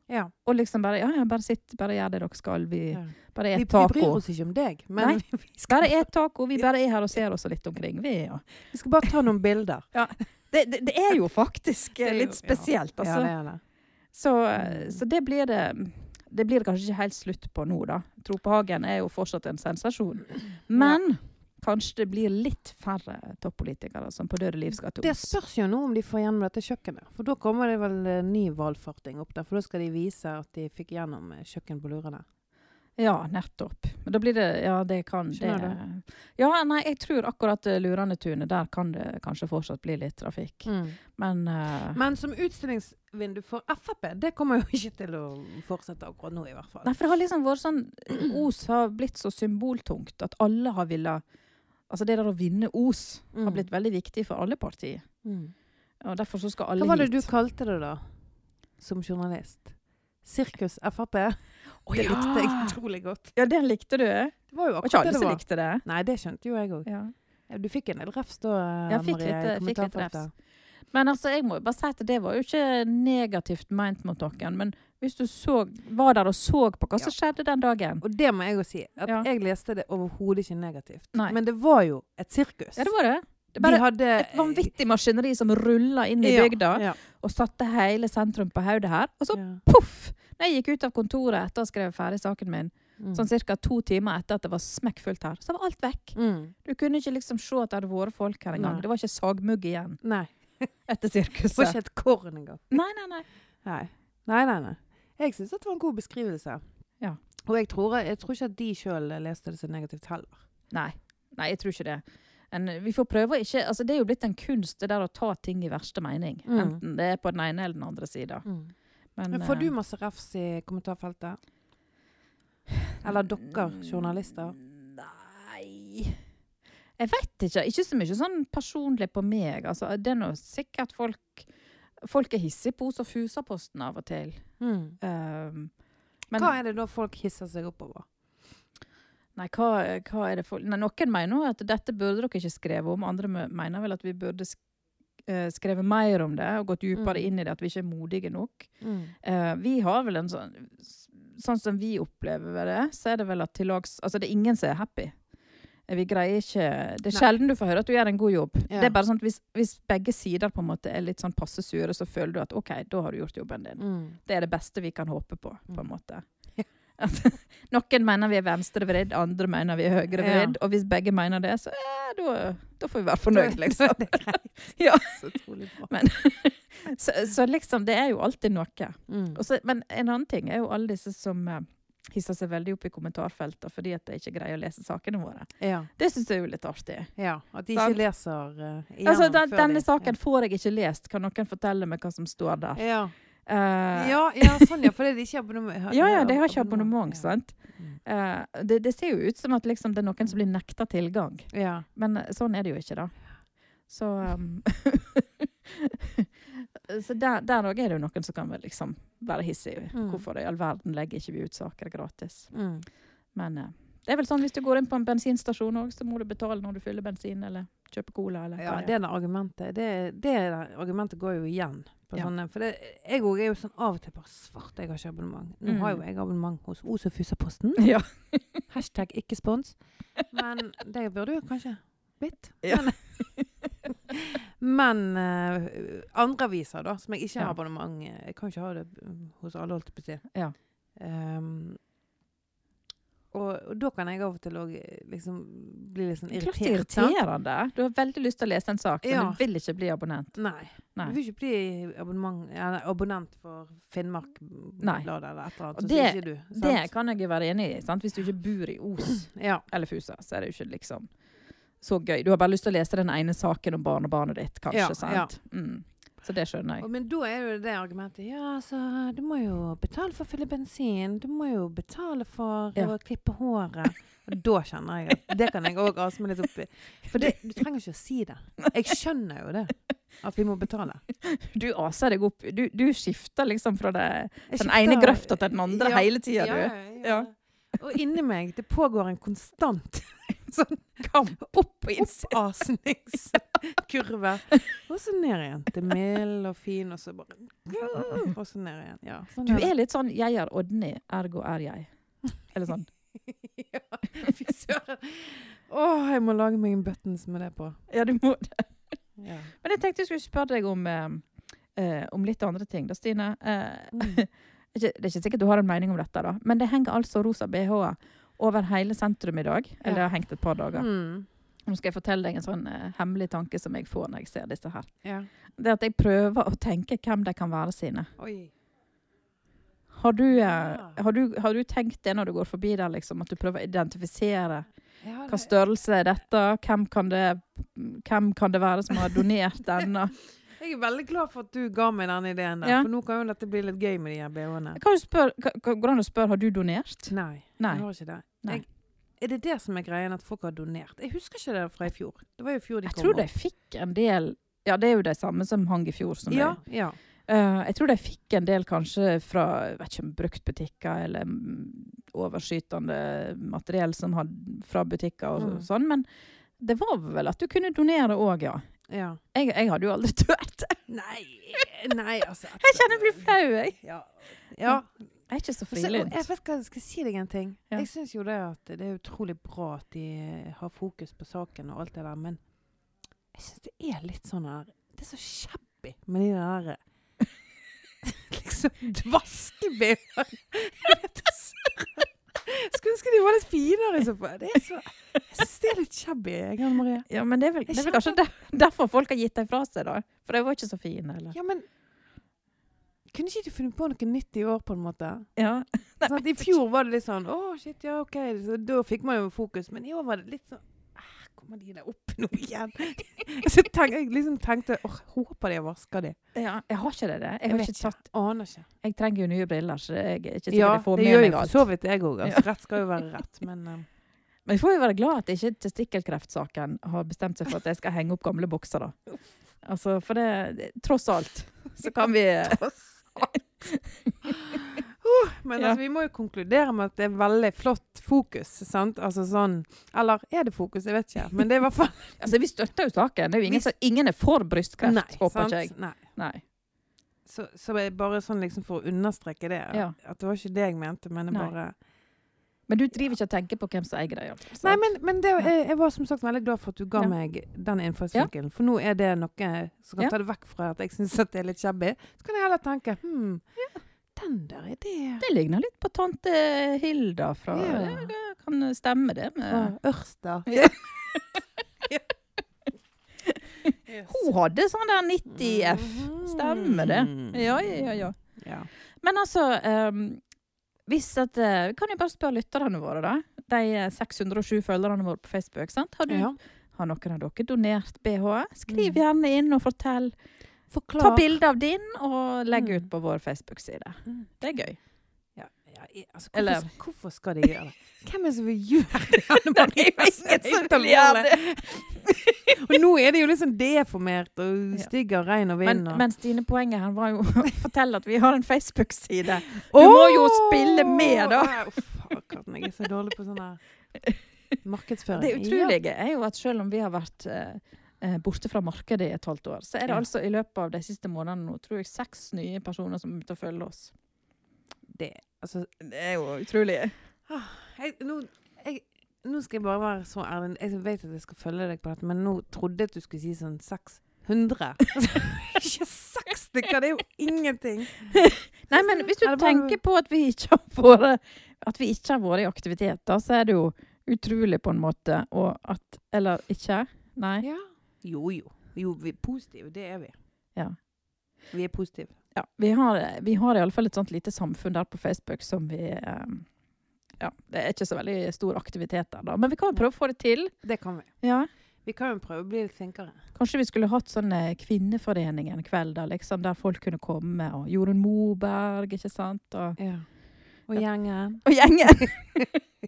[SPEAKER 3] Ja.
[SPEAKER 2] Og liksom bare Ja, ja, bare sitt, bare gjør det dere skal. Vi
[SPEAKER 3] ja.
[SPEAKER 2] bare
[SPEAKER 3] Vi,
[SPEAKER 2] et
[SPEAKER 3] vi bryr
[SPEAKER 2] taco.
[SPEAKER 3] oss ikke om deg, men
[SPEAKER 2] Nei.
[SPEAKER 3] vi, skal,
[SPEAKER 2] Bare et taco. Vi bare er her og ser oss litt omkring, vi, ja.
[SPEAKER 3] vi skal bare ta noen bilder.
[SPEAKER 2] Det, det, det er jo faktisk eh,
[SPEAKER 3] Det er jo-
[SPEAKER 2] litt spesielt, altså.
[SPEAKER 3] Ja, det er det.
[SPEAKER 2] Så,
[SPEAKER 3] Mm.
[SPEAKER 2] eh, så det blir det det blir det kanskje ikke helt slutt på nå, da. Tropehagen er jo fortsatt en sensasjon. Men kanskje det blir litt færre toppolitikere som på døde liv skal til
[SPEAKER 3] Det
[SPEAKER 2] Os.
[SPEAKER 3] spørs jo nå om de får gjennom dette kjøkkenet. For da kommer det vel eh, ny valfarting opp der. For da skal de vise at de fikk gjennom eh, kjøkken på Lurane.
[SPEAKER 2] Ja, nettopp. Men da blir det Ja, det kan det.
[SPEAKER 3] Skjønner
[SPEAKER 2] Ja, nei, jeg tror akkurat eh, Luranetunet, der kan det kanskje fortsatt bli litt trafikk. Men eh,
[SPEAKER 3] Mm. Men som utstillingsvindu for Frp, det kommer jo ikke til å fortsette akkurat nå, i hvert fall.
[SPEAKER 2] Nei, for det har liksom vært sånn Os har blitt så symboltungt at alle har villet Altså det der å vinne Os har
[SPEAKER 3] Mm.
[SPEAKER 2] blitt veldig viktig for alle partier.
[SPEAKER 3] Mm.
[SPEAKER 2] Og derfor så skal alle
[SPEAKER 3] Hva var det
[SPEAKER 2] hit.
[SPEAKER 3] du kalte det, da? Som journalist? Sirkus Frp?
[SPEAKER 2] Å,
[SPEAKER 3] det
[SPEAKER 2] ja.
[SPEAKER 3] likte jeg utrolig godt.
[SPEAKER 2] Ja, den likte du.
[SPEAKER 3] Det var jo
[SPEAKER 2] Og ikke
[SPEAKER 3] akkurat
[SPEAKER 2] alle
[SPEAKER 3] det det
[SPEAKER 2] som
[SPEAKER 3] var.
[SPEAKER 2] likte det.
[SPEAKER 3] Nei, det skjønte jo jeg òg.
[SPEAKER 2] Ja.
[SPEAKER 3] Du fikk en del refs da,
[SPEAKER 2] Ja, fikk
[SPEAKER 3] Marie,
[SPEAKER 2] litt- eh,
[SPEAKER 3] i
[SPEAKER 2] fikk litt
[SPEAKER 3] kommentarfeltet.
[SPEAKER 2] refs. Men altså, jeg må jo bare si at det var jo ikke negativt meint mot noen. Men hvis du så, var der og så på hva som skjedde den dagen
[SPEAKER 3] Og det må jeg jo si, at
[SPEAKER 2] Ja.
[SPEAKER 3] jeg leste det overhodet ikke negativt.
[SPEAKER 2] Nei.
[SPEAKER 3] Men det var jo et sirkus.
[SPEAKER 2] Ja, det var det. Det bare
[SPEAKER 3] De hadde
[SPEAKER 2] et vanvittig maskineri som rulla inn i bygda
[SPEAKER 3] Ja,
[SPEAKER 2] og satte hele sentrum på hodet her. Og så
[SPEAKER 3] ja.
[SPEAKER 2] poff! Når jeg gikk ut av kontoret etter å ha skrevet ferdig saken min,
[SPEAKER 3] Mm.
[SPEAKER 2] sånn ca. to timer etter at det var smekkfullt her, så var alt vekk.
[SPEAKER 3] Mm.
[SPEAKER 2] Du kunne ikke liksom se at det hadde vært folk her engang.
[SPEAKER 3] Nei.
[SPEAKER 2] Det var ikke sagmugg igjen
[SPEAKER 3] Nei.
[SPEAKER 2] etter
[SPEAKER 3] Det var
[SPEAKER 2] sirkuset.
[SPEAKER 3] ikke et korn engang.
[SPEAKER 2] Nei, nei, nei.
[SPEAKER 3] Nei. Nei, nei, nei. Jeg syns det var en god beskrivelse.
[SPEAKER 2] Ja.
[SPEAKER 3] Og jeg tror, jeg tror ikke at de sjøl leste det så negativt heller.
[SPEAKER 2] Nei. Nei, jeg tror ikke det. En, vi får prøve å ikke altså Det er jo blitt en kunst det der å ta ting i verste mening.
[SPEAKER 3] Mm.
[SPEAKER 2] Enten det er på den ene eller den andre sida. Men,
[SPEAKER 3] Men får
[SPEAKER 2] eh,
[SPEAKER 3] du masse refs i kommentarfeltet? Eller dere
[SPEAKER 2] Mm,
[SPEAKER 3] journalister?
[SPEAKER 2] Nei Jeg vet ikke. Ikke så mye sånn personlig på meg. Altså, det er nå sikkert folk Folk er hissige på Os- og Fusaposten av og til. Ehm, men
[SPEAKER 3] Hva er det da folk hisser seg oppover?
[SPEAKER 2] Nei, hva, hva er det for nei, Noen mener jo at dette burde dere ikke skrevet om. Andre me- mener vel at vi burde sk eh, skrevet mer om det og gått dypere
[SPEAKER 3] Mm.
[SPEAKER 2] inn i det, at vi ikke er modige nok. Eh, vi har vel en sånn Sånn som vi opplever det, så er det vel at til lags Altså, det er ingen som er happy. Eh, Vi greier ikke Det er
[SPEAKER 3] Nei.
[SPEAKER 2] sjelden du får høre at du gjør en god jobb.
[SPEAKER 3] Ja.
[SPEAKER 2] Det er bare sånn at hvis, hvis begge sider på en måte er litt sånn passe sure, så føler du at OK, da har du gjort jobben din. Det er det beste vi kan håpe på, på en
[SPEAKER 3] Mm.
[SPEAKER 2] måte.
[SPEAKER 3] Ja.
[SPEAKER 2] At Noen mener vi er venstrevridd, andre mener vi er høyrevridd. Og hvis begge mener det, så eh, da, da får vi være fornøyd, liksom.
[SPEAKER 3] Det er greit.
[SPEAKER 2] Ja.
[SPEAKER 3] Så utrolig bra.
[SPEAKER 2] Så, så liksom, det er jo alltid noe.
[SPEAKER 3] Mm.
[SPEAKER 2] Og så- men en annen ting er jo alle disse som eh, hisser seg veldig opp i kommentarfeltene fordi at de ikke greier å lese sakene våre.
[SPEAKER 3] Ja.
[SPEAKER 2] Det syns jeg er jo litt artig.
[SPEAKER 3] ja. At de
[SPEAKER 2] Sant.
[SPEAKER 3] ikke leser eh, igjennom
[SPEAKER 2] Altså, den,
[SPEAKER 3] før
[SPEAKER 2] denne
[SPEAKER 3] de-
[SPEAKER 2] saken får jeg ikke lest. Kan noen fortelle meg hva som står der?
[SPEAKER 3] Ja.
[SPEAKER 2] Eh,
[SPEAKER 3] Ja, ja, sånn ja. Fordi de ikke har abonnement.
[SPEAKER 2] ja, ja, de har ikke abonnement,
[SPEAKER 3] Ja. Mm.
[SPEAKER 2] sant? Eh, det, det ser jo ut som at liksom, det er noen som blir nekta tilgang,
[SPEAKER 3] Ja.
[SPEAKER 2] men eh, sånn er det jo ikke, da. Så um, Så der der òg er det jo noen som kan vel liksom være hissige.
[SPEAKER 3] Mm.
[SPEAKER 2] Hvorfor i all verden legger ikke vi ut saker gratis?
[SPEAKER 3] Mm.
[SPEAKER 2] Men eh, det er vel sånn hvis du går inn på en bensinstasjon òg, så må du betale når du fyller bensin, eller kjøper cola, eller
[SPEAKER 3] Ja,
[SPEAKER 2] hva
[SPEAKER 3] det der argumentet det, det der argumentet går jo igjen. På
[SPEAKER 2] Ja.
[SPEAKER 3] sånne, for det, jeg òg er jo sånn av og til bare svart, jeg har ikke abonnement. Nå har jo
[SPEAKER 2] Mm.
[SPEAKER 3] jeg abonnement hos Os og Fusaposten.
[SPEAKER 2] Ja.
[SPEAKER 3] Hashtag ikke spons. Men det burde jo kanskje blitt.
[SPEAKER 2] Ja.
[SPEAKER 3] Men, men eh, andre aviser, da, som jeg ikke har
[SPEAKER 2] Ja.
[SPEAKER 3] abonnement eh, Jeg kan ikke ha det mm, hos alle, holdt jeg på å si.
[SPEAKER 2] Ja.
[SPEAKER 3] Ehm, og, og da kan jeg av og til òg liksom bli litt sånn
[SPEAKER 2] Det er klart
[SPEAKER 3] irritert.
[SPEAKER 2] det er
[SPEAKER 3] sant?
[SPEAKER 2] irriterende. Du har veldig lyst til å lese en sak, men
[SPEAKER 3] Ja.
[SPEAKER 2] du vil ikke bli abonnent.
[SPEAKER 3] Nei.
[SPEAKER 2] Nei.
[SPEAKER 3] Du vil ikke bli abonnement, ja, nei, abonnent for Finnmark-bladet eller et eller annet.
[SPEAKER 2] Og
[SPEAKER 3] så
[SPEAKER 2] det-
[SPEAKER 3] sier ikke du, sant?
[SPEAKER 2] Det kan jeg jo være enig i. Sant? Hvis du ikke bor i Os
[SPEAKER 3] ja.
[SPEAKER 2] eller Fusa, så er det jo ikke liksom så gøy. Du har bare lyst til å lese den ene saken om barnebarnet ditt, kanskje.
[SPEAKER 3] Ja,
[SPEAKER 2] sant? Mm. Så det skjønner
[SPEAKER 3] Og,
[SPEAKER 2] jeg.
[SPEAKER 3] men da er jo det argumentet Ja, altså, du må jo betale for å fylle bensin. Du må jo betale for
[SPEAKER 2] Ja.
[SPEAKER 3] å klippe håret. Og da kjenner jeg at Det kan jeg òg ase meg litt opp i. For det, du trenger ikke å si det. Jeg skjønner jo det. At vi må betale.
[SPEAKER 2] Du aser deg opp. Du, du skifter liksom fra det,
[SPEAKER 3] Jeg
[SPEAKER 2] den
[SPEAKER 3] skifter-
[SPEAKER 2] ene grøfta til den andre
[SPEAKER 3] Ja.
[SPEAKER 2] hele tida,
[SPEAKER 3] Ja,
[SPEAKER 2] du.
[SPEAKER 3] ja, ja. Og inni meg, det pågår en konstant sånn
[SPEAKER 2] Kamp opp og innsiden.
[SPEAKER 3] oppasningskurve. Og så ned igjen. Til mild og fin, og så bare Mm. øh, Og så ned igjen. Ja, sånn
[SPEAKER 2] Du
[SPEAKER 3] det.
[SPEAKER 2] er litt sånn 'jeg er Odny, ergo er jeg'. Eller sånn.
[SPEAKER 3] ja, Fy søren. Å, jeg må lage meg en buttons med det på.
[SPEAKER 2] Ja, du må
[SPEAKER 3] Ja.
[SPEAKER 2] Men jeg tenkte jeg skulle spørre deg om, eh, eh, om litt andre ting, da, Stine. Eh,
[SPEAKER 3] Mm.
[SPEAKER 2] ikke, det er ikke sikkert du har en mening om dette, da, men det henger altså rosa BH-er over hele sentrum i dag. Eller det har hengt et par dager.
[SPEAKER 3] Mm.
[SPEAKER 2] Nå skal jeg fortelle deg en sånn eh, hemmelig tanke som jeg får når jeg ser disse her.
[SPEAKER 3] ja.
[SPEAKER 2] Det er at jeg prøver å tenke hvem de kan være sine.
[SPEAKER 3] Oi.
[SPEAKER 2] Har du, eh,
[SPEAKER 3] Ja.
[SPEAKER 2] har du, har du tenkt det når du går forbi der, liksom, at du prøver å identifisere
[SPEAKER 3] Ja,
[SPEAKER 2] hva
[SPEAKER 3] det,
[SPEAKER 2] størrelse er dette, hvem kan det, hvem kan det være som har donert denne?
[SPEAKER 3] jeg er veldig glad for at du ga meg den ideen, der,
[SPEAKER 2] Ja.
[SPEAKER 3] for nå kan jo dette bli litt gøy med de her BH-ene.
[SPEAKER 2] Jeg kan jo spørre, kan- kan- går det an å spørre har du donert?
[SPEAKER 3] Nei,
[SPEAKER 2] Nei.
[SPEAKER 3] jeg har ikke det.
[SPEAKER 2] Nei.
[SPEAKER 3] Jeg, er det det som er greien, at folk har donert? Jeg husker ikke det fra i fjor. Det var jo i fjor de
[SPEAKER 2] Jeg
[SPEAKER 3] kom.
[SPEAKER 2] tror de
[SPEAKER 3] opp.
[SPEAKER 2] fikk en del Ja, det er jo de samme som hang i fjor. Som
[SPEAKER 3] Ja,
[SPEAKER 2] jeg.
[SPEAKER 3] ja.
[SPEAKER 2] Eh, jeg tror de fikk en del kanskje fra jeg vet ikke, om bruktbutikker eller mm, overskytende materiell som had, fra butikker og
[SPEAKER 3] Mm.
[SPEAKER 2] sånn, men det var vel at du kunne donere òg, ja.
[SPEAKER 3] ja.
[SPEAKER 2] Jeg, jeg hadde jo aldri turt.
[SPEAKER 3] Nei, nei altså
[SPEAKER 2] Jeg kjenner jeg blir flau, jeg.
[SPEAKER 3] Ja. ja.
[SPEAKER 2] Jeg er ikke så
[SPEAKER 3] Så, og jeg
[SPEAKER 2] frilynt.
[SPEAKER 3] vet hva, jeg skal si deg en ting.
[SPEAKER 2] Ja.
[SPEAKER 3] Jeg syns jo det at det er utrolig bra at de eh, har fokus på saken og alt det der, men jeg syns det er litt sånn her Det er så shabby med de der eh, liksom dvaskebehene. Jeg vet da søren. Skulle ønske de var litt finere i så fall. Det er så, jeg syns det er litt shabby, jeg, Anne Marie.
[SPEAKER 2] Ja, men det er vel, det er vel kanskje der, derfor folk har gitt dem fra seg, da. For de var ikke så fine, eller?
[SPEAKER 3] Ja, men kunne ikke de funnet på noe nytt i år, på en måte?
[SPEAKER 2] Ja.
[SPEAKER 3] Sant? I fjor var det litt sånn Å, shit, ja, OK. Så da fikk man jo fokus. Men i år var det litt sånn «Ah, Kommer de der opp nå igjen? så tenk, jeg liksom tenkte åh, håper de har vaska de.
[SPEAKER 2] ja. Jeg har ikke det. det. Jeg,
[SPEAKER 3] Jeg
[SPEAKER 2] har
[SPEAKER 3] vet
[SPEAKER 2] ikke tatt,
[SPEAKER 3] Aner ikke.
[SPEAKER 2] jeg trenger jo nye briller, så jeg er ikke sikkert
[SPEAKER 3] Ja,
[SPEAKER 2] jeg får
[SPEAKER 3] det
[SPEAKER 2] med
[SPEAKER 3] gjør
[SPEAKER 2] meg
[SPEAKER 3] jo for
[SPEAKER 2] alt.
[SPEAKER 3] så vidt jeg òg. Altså. Rett skal jo være rett, men eh,
[SPEAKER 2] Men vi får jo være glad at ikke testikkelkreftsaken har bestemt seg for at jeg skal henge opp gamle bokser, da. Altså, for det, det Tross alt, så kan vi
[SPEAKER 3] Men
[SPEAKER 2] Ja.
[SPEAKER 3] altså, vi må jo konkludere med at det er veldig flott fokus, sant? Altså sånn Eller er det fokus? Jeg vet ikke. Men det er i hvert fall
[SPEAKER 2] Altså, vi støtter jo saken. Det er jo ingen,
[SPEAKER 3] Vi-
[SPEAKER 2] som- ingen er for brystkreft, håper
[SPEAKER 3] sant?
[SPEAKER 2] ikke jeg.
[SPEAKER 3] Nei.
[SPEAKER 2] Nei.
[SPEAKER 3] Så, så jeg bare sånn liksom for å understreke det.
[SPEAKER 2] Ja.
[SPEAKER 3] At det var ikke det jeg mente, men jeg
[SPEAKER 2] Nei.
[SPEAKER 3] bare
[SPEAKER 2] Men du driver ikke og tenker på hvem som eier altså. det? iallfall, sant?
[SPEAKER 3] Nei, men, men det,
[SPEAKER 2] Ja.
[SPEAKER 3] jeg, jeg var som sagt veldig glad for at du ga
[SPEAKER 2] Ja.
[SPEAKER 3] meg den innfallsvinkelen. For nå er det noe som kan
[SPEAKER 2] Ja.
[SPEAKER 3] ta det vekk fra at jeg syns det er litt shabby. Så kan jeg heller tenke hm, stender i det
[SPEAKER 2] Det ligner litt på tante Hilda fra
[SPEAKER 3] Ja.
[SPEAKER 2] Det kan stemme, det. Med.
[SPEAKER 3] fra Ørsta.
[SPEAKER 2] Ja.
[SPEAKER 3] Yes.
[SPEAKER 2] Hun hadde sånn der 90F. Stemmer det? Ja, ja, ja, ja.
[SPEAKER 3] Mm. Ja.
[SPEAKER 2] Men altså ehm, hvis at, eh, Vi kan jo bare spørre lytterne våre, da. De eh, 607 følgerne våre på Facebook. sant? Har, du,
[SPEAKER 3] Ja.
[SPEAKER 2] har noen av dere donert BH? Skriv
[SPEAKER 3] Mm.
[SPEAKER 2] gjerne inn og fortell. Ta
[SPEAKER 3] Forklar.
[SPEAKER 2] bilde av din og legg ut
[SPEAKER 3] Mm.
[SPEAKER 2] på vår Facebook-side.
[SPEAKER 3] Mm.
[SPEAKER 2] Det er gøy.
[SPEAKER 3] Ja, ja, i- altså, hvorfor,
[SPEAKER 2] Eller-
[SPEAKER 3] hvorfor skal de gjøre det? Hvem er det som vil gjøre det? Anne Marie?
[SPEAKER 2] Det er jo
[SPEAKER 3] Det er
[SPEAKER 2] ingen som
[SPEAKER 3] helt
[SPEAKER 2] vil gjøre
[SPEAKER 3] alvorlig. og nå er det jo liksom deformert og
[SPEAKER 2] Ja.
[SPEAKER 3] stygg av regn og
[SPEAKER 2] Men,
[SPEAKER 3] vind. og-
[SPEAKER 2] men Stine, poenget her var jo å fortelle at vi har en Facebook-side. du må jo spille med, da.
[SPEAKER 3] Åh, Uff, katten, jeg er så dårlig på sånn her markedsføring.
[SPEAKER 2] Det utrolige er jo at selv om vi har vært eh, eh, borte fra markedet i et halvt år, så er det
[SPEAKER 3] Ja.
[SPEAKER 2] altså i løpet av de siste månedene nå, tror jeg, seks nye personer som er ute og følger oss.
[SPEAKER 3] Ja, det, altså,
[SPEAKER 2] Det er jo utrolig.
[SPEAKER 3] jeg, nå, jeg, nå skal jeg bare være så ærlig. Jeg vet at jeg skal følge deg på dette, men nå trodde jeg at du skulle si sånn 600. Ikke seks stykker, det er jo ingenting.
[SPEAKER 2] Nei, men hvis du
[SPEAKER 3] Er det bare-
[SPEAKER 2] tenker på at vi ikke har vært, at vi ikke har vært i aktivitet, da, så er det jo utrolig på en måte, og at Eller ikke? Nei.
[SPEAKER 3] Ja. Jo, jo. Jo, vi er positive. Det er vi.
[SPEAKER 2] Ja.
[SPEAKER 3] Vi er positive.
[SPEAKER 2] Ja, vi har, vi har i alle fall et sånt lite samfunn der på Facebook som vi eh, Ja, det er ikke så veldig stor aktivitet der, da. Men vi kan jo prøve å få det til.
[SPEAKER 3] Det kan vi.
[SPEAKER 2] Ja.
[SPEAKER 3] Vi kan jo prøve å bli litt flinkere.
[SPEAKER 2] Kanskje vi skulle hatt sånn eh, kvinneforening en kveld, da, liksom, der folk kunne komme. Og Jorunn Moberg, ikke sant? Og,
[SPEAKER 3] Ja. Og gjengen.
[SPEAKER 2] og gjengen!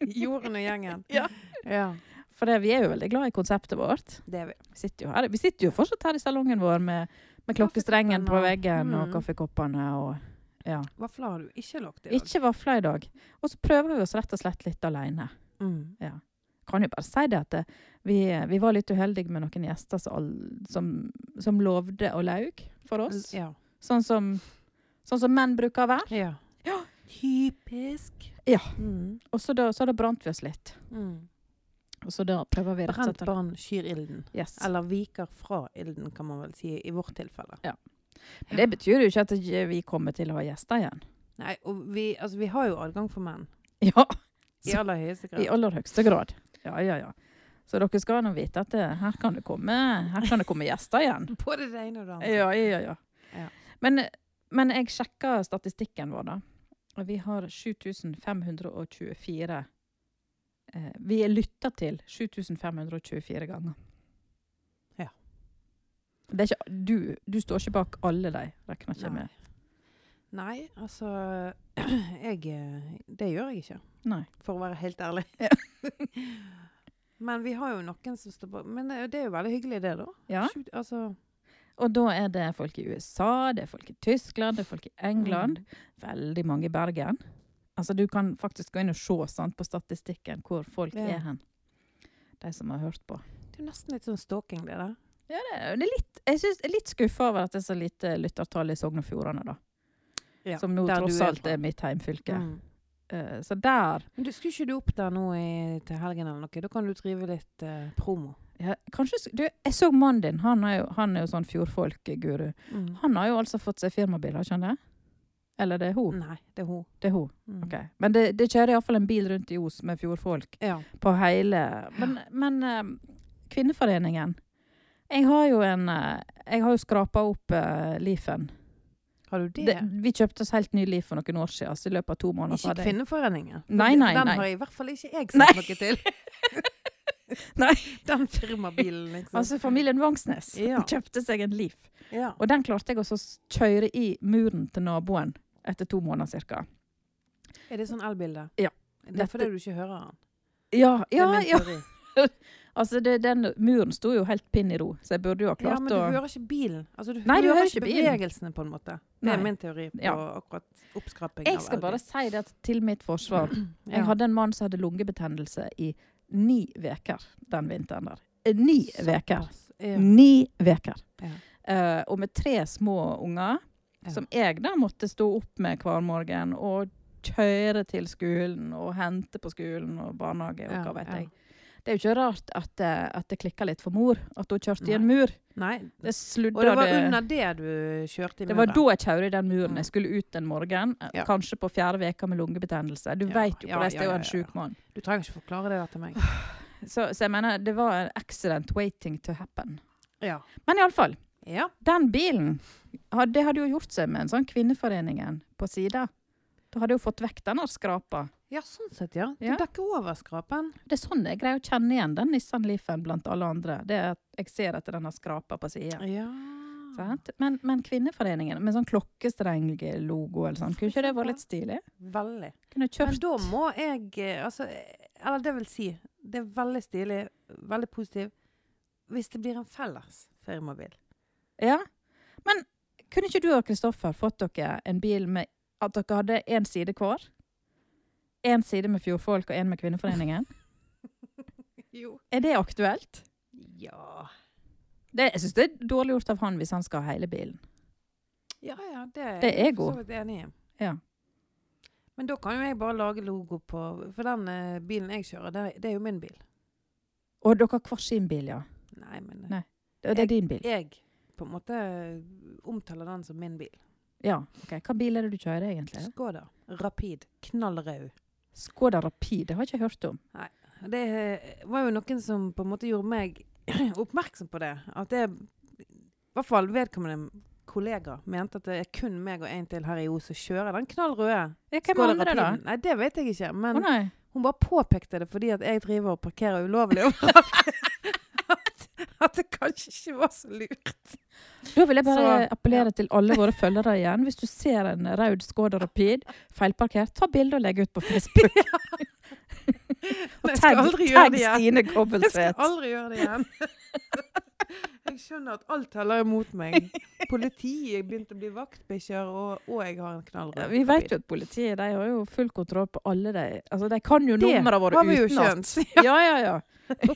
[SPEAKER 3] Jorden og gjengen.
[SPEAKER 2] Ja.
[SPEAKER 3] Ja,
[SPEAKER 2] For det, vi er jo veldig glad i konseptet vårt.
[SPEAKER 3] Det er vi.
[SPEAKER 2] Vi sitter jo, her. Vi sitter jo fortsatt her i salongen vår med, med klokkestrengen på veggen og Mm. kaffekoppene. og ja.
[SPEAKER 3] Vafler har du ikke lagt i dag.
[SPEAKER 2] Ikke vafler i dag. Og så prøver vi oss rett og slett litt aleine.
[SPEAKER 3] Mm.
[SPEAKER 2] kan jo bare si det at det, vi, eh, vi var litt uheldige med noen gjester som, all- som, som lovde og laug for oss.
[SPEAKER 3] Ja.
[SPEAKER 2] Sånn, som, sånn som menn bruker å være.
[SPEAKER 3] ja. Typisk.
[SPEAKER 2] Ja.
[SPEAKER 3] Mm.
[SPEAKER 2] Og så da, så da brant vi oss litt.
[SPEAKER 3] Mm.
[SPEAKER 2] Og så da prøver vi rett og
[SPEAKER 3] Brent
[SPEAKER 2] slett å
[SPEAKER 3] barn skyr ilden.
[SPEAKER 2] Yes.
[SPEAKER 3] Eller viker fra ilden, kan man vel si, i vårt tilfelle.
[SPEAKER 2] Men Det betyr jo ikke at ikke vi kommer til å ha gjester igjen.
[SPEAKER 3] Nei, og vi, altså, vi har jo adgang for menn.
[SPEAKER 2] Ja,
[SPEAKER 3] I
[SPEAKER 2] Så-
[SPEAKER 3] aller høyeste grad.
[SPEAKER 2] I aller høyeste grad. Ja, ja, ja. Så dere skal nå vite at det, her, kan det komme, her kan det komme gjester igjen.
[SPEAKER 3] Både det ene og det andre.
[SPEAKER 2] Ja, ja, ja.
[SPEAKER 3] Ja.
[SPEAKER 2] Men, men jeg sjekka statistikken vår, da. Og vi har 7524 eh, Vi er lytta til 7524 ganger.
[SPEAKER 3] Ja.
[SPEAKER 2] Det er ikke, du, du står ikke bak alle de, regner ikke
[SPEAKER 3] Nei.
[SPEAKER 2] med.
[SPEAKER 3] Nei, altså jeg, eh, Det gjør jeg ikke,
[SPEAKER 2] Nei.
[SPEAKER 3] for å være helt ærlig.
[SPEAKER 2] Ja.
[SPEAKER 3] Men vi har jo noen som står på Men eh, det er jo veldig hyggelig, det, da.
[SPEAKER 2] Ja.
[SPEAKER 3] Sju- Altså,
[SPEAKER 2] Og da er det folk i USA, det er folk i Tyskland, det er folk i England.
[SPEAKER 3] Mm.
[SPEAKER 2] Veldig mange i Bergen. Altså, du kan faktisk gå inn og se sant, på statistikken hvor folk
[SPEAKER 3] Ja.
[SPEAKER 2] er hen. De som har hørt på.
[SPEAKER 3] Mm. Det er jo nesten litt sånn stalking, det der.
[SPEAKER 2] Ja, det er, det er litt, jeg synes, jeg er litt skuffa over at det er så lite lyttertall i Sogn og Fjordane, da.
[SPEAKER 3] Ja,
[SPEAKER 2] som nå
[SPEAKER 3] der du
[SPEAKER 2] tross
[SPEAKER 3] er
[SPEAKER 2] alt
[SPEAKER 3] fra.
[SPEAKER 2] er mitt heimfylke.
[SPEAKER 3] Mm.
[SPEAKER 2] Eh, så der
[SPEAKER 3] Men du, skulle ikke du opp der nå i, til helgen eller noe? Da kan du drive litt eh, promo.
[SPEAKER 2] ja, Kanskje s- Du, jeg så mannen din. Han er jo, han er jo sånn fjordfolk-guru.
[SPEAKER 3] Mm.
[SPEAKER 2] Han har jo altså fått seg firmabil, har ikke han det? Eller det er hun?
[SPEAKER 3] Nei, det er hun.
[SPEAKER 2] Det er hun.
[SPEAKER 3] Mm.
[SPEAKER 2] ok. Men det, det kjører iallfall en bil rundt i Os med fjordfolk
[SPEAKER 3] Ja.
[SPEAKER 2] på hele Men, men eh, Kvinneforeningen Jeg har jo en eh, Jeg har jo skrapa opp uh, Lifen.
[SPEAKER 3] Har du det?
[SPEAKER 2] Det, vi kjøpte oss helt ny liv for noen år siden. Så i løpet av to måneder så
[SPEAKER 3] ikke
[SPEAKER 2] hadde jeg-
[SPEAKER 3] Kvinneforeningen? For
[SPEAKER 2] Nei,
[SPEAKER 3] det-
[SPEAKER 2] nei,
[SPEAKER 3] Den
[SPEAKER 2] nei.
[SPEAKER 3] har i hvert fall ikke jeg
[SPEAKER 2] Nei.
[SPEAKER 3] sett noe til.
[SPEAKER 2] Nei.
[SPEAKER 3] Den firmabilen, liksom.
[SPEAKER 2] Altså Familien Vangsnes
[SPEAKER 3] Ja.
[SPEAKER 2] kjøpte seg en liv.
[SPEAKER 3] ja.
[SPEAKER 2] Og den klarte jeg også å s- kjøre i muren til naboen etter to måneder cirka.
[SPEAKER 3] Er det sånn elbilde?
[SPEAKER 2] Ja.
[SPEAKER 3] Det er fordi
[SPEAKER 2] Dette-
[SPEAKER 3] du ikke hører han.
[SPEAKER 2] Ja,
[SPEAKER 3] Det er
[SPEAKER 2] ja,
[SPEAKER 3] min
[SPEAKER 2] ja.
[SPEAKER 3] teori.
[SPEAKER 2] Altså det, den muren sto jo helt pinn i ro, så jeg burde jo ha
[SPEAKER 3] ja,
[SPEAKER 2] klart
[SPEAKER 3] men du
[SPEAKER 2] å
[SPEAKER 3] hører ikke bilen. Altså, du,
[SPEAKER 2] Nei, du hører ikke bilen.
[SPEAKER 3] bevegelsene, på en måte. Det er
[SPEAKER 2] Nei.
[SPEAKER 3] min teori på
[SPEAKER 2] Ja.
[SPEAKER 3] akkurat oppskraping
[SPEAKER 2] Jeg skal bare si det at til mitt forsvar. Jeg hadde en mann som hadde lungebetennelse i ni uker den vinteren der. Eh, Ni uker.
[SPEAKER 3] Ja.
[SPEAKER 2] Ni uker.
[SPEAKER 3] Ja.
[SPEAKER 2] Eh, og med tre små unger,
[SPEAKER 3] Ja.
[SPEAKER 2] som jeg da måtte stå opp med hver morgen og kjøre til skolen og hente på skolen og barnehage og
[SPEAKER 3] Ja,
[SPEAKER 2] hva vet
[SPEAKER 3] ja.
[SPEAKER 2] jeg. Det er jo ikke rart at, eh, at det klikka litt for mor. At hun kjørte i en
[SPEAKER 3] Nei.
[SPEAKER 2] mur.
[SPEAKER 3] Nei.
[SPEAKER 2] Det
[SPEAKER 3] Og det
[SPEAKER 2] sludra
[SPEAKER 3] var under det du kjørte i
[SPEAKER 2] Det var
[SPEAKER 3] muren.
[SPEAKER 2] da jeg kjørte i den muren.
[SPEAKER 3] Mm.
[SPEAKER 2] Jeg skulle ut den morgenen, eh,
[SPEAKER 3] Ja.
[SPEAKER 2] kanskje på fjerde veka med lungebetennelse. Du
[SPEAKER 3] Ja,
[SPEAKER 2] vet jo
[SPEAKER 3] ja,
[SPEAKER 2] hvordan det er
[SPEAKER 3] ja,
[SPEAKER 2] å
[SPEAKER 3] ja,
[SPEAKER 2] være en
[SPEAKER 3] ja.
[SPEAKER 2] sjuk mann.
[SPEAKER 3] Du trenger ikke forklare det der til meg.
[SPEAKER 2] Så, så jeg mener, det var en accident waiting to happen.
[SPEAKER 3] Ja.
[SPEAKER 2] Men iallfall,
[SPEAKER 3] ja.
[SPEAKER 2] den bilen had- Det hadde jo gjort seg med en sånn Kvinneforeningen på sida. Da hadde jeg jo fått vekk denne skrapa.
[SPEAKER 3] Ja, sånn sett, ja. Du
[SPEAKER 2] Ja.
[SPEAKER 3] dekker over skrapen.
[SPEAKER 2] Det er sånn jeg greier å kjenne igjen den Nissan Leafen blant alle andre. Det er at jeg ser etter denne skrapa på sida.
[SPEAKER 3] Ja.
[SPEAKER 2] Sant? Men, men Kvinneforeningen med sånn klokkestrenglogo eller sånn, kunne ikke det vært litt stilig?
[SPEAKER 3] Veldig.
[SPEAKER 2] Kunne
[SPEAKER 3] Men
[SPEAKER 2] kjørt
[SPEAKER 3] da må jeg eh, altså, eh, Eller det vil si, det er veldig stilig, veldig positiv, hvis det blir en felles firmabil.
[SPEAKER 2] Ja. Men kunne ikke du og Kristoffer fått dere en bil med at dere hadde én side hver? Én side med Fjordfolk og én med Kvinneforeningen?
[SPEAKER 3] Jo.
[SPEAKER 2] Er det aktuelt?
[SPEAKER 3] Ja.
[SPEAKER 2] Det, jeg syns det er dårlig gjort av han hvis han skal ha hele bilen.
[SPEAKER 3] Ja, ja, det er,
[SPEAKER 2] Det er
[SPEAKER 3] jeg
[SPEAKER 2] god.
[SPEAKER 3] for så vidt enig i.
[SPEAKER 2] Ja.
[SPEAKER 3] Men da kan jo jeg bare lage logo på For den eh, bilen jeg kjører, det, er- det er jo min bil.
[SPEAKER 2] Og dere har hver sin bil, ja.
[SPEAKER 3] Nei, men eh,
[SPEAKER 2] Nei. Og det er din bil.
[SPEAKER 3] jeg på en måte omtaler den som min bil.
[SPEAKER 2] Ja. ok. Hva bil er det du kjører, egentlig?
[SPEAKER 3] Skoda. Rapid. Knallrød.
[SPEAKER 2] Skoda Rapid, det har jeg ikke hørt om.
[SPEAKER 3] Det eh, var jo noen som på en måte gjorde meg oppmerksom på det. At det I hvert fall vedkommende kollega mente at det er kun meg og en til her i O som kjører den knallrøde.
[SPEAKER 2] Ja, hvem
[SPEAKER 3] Skoda
[SPEAKER 2] andre, da?
[SPEAKER 3] Rapiden. Nei, det vet jeg ikke.
[SPEAKER 2] Å
[SPEAKER 3] Men
[SPEAKER 2] nei.
[SPEAKER 3] Hun bare påpekte det fordi at jeg driver og parkerer ulovlig. overalt. at, at det kanskje ikke var så lurt.
[SPEAKER 2] Da vil jeg bare
[SPEAKER 3] Så,
[SPEAKER 2] appellere til alle våre følgere igjen. Hvis du ser en rød Skoda Rapid feilparkert, ta bilde og legg ut på Facebook.
[SPEAKER 3] Og jeg skal
[SPEAKER 2] Tagg,
[SPEAKER 3] aldri gjøre
[SPEAKER 2] tagg
[SPEAKER 3] det igjen.
[SPEAKER 2] Stine
[SPEAKER 3] Jeg skal
[SPEAKER 2] Kobbelsvedt.
[SPEAKER 3] aldri gjøre det igjen. jeg skjønner at alt teller imot meg. Politiet jeg begynte å bli vaktbikkjer, og, og jeg har en knallrød.
[SPEAKER 2] Ja, Vi vet jo at politiet de har jo full kontroll på alle de Altså, de kan jo
[SPEAKER 3] Det
[SPEAKER 2] numrene våre
[SPEAKER 3] har vi jo
[SPEAKER 2] utenat.
[SPEAKER 3] skjønt.
[SPEAKER 2] Ja, ja, ja.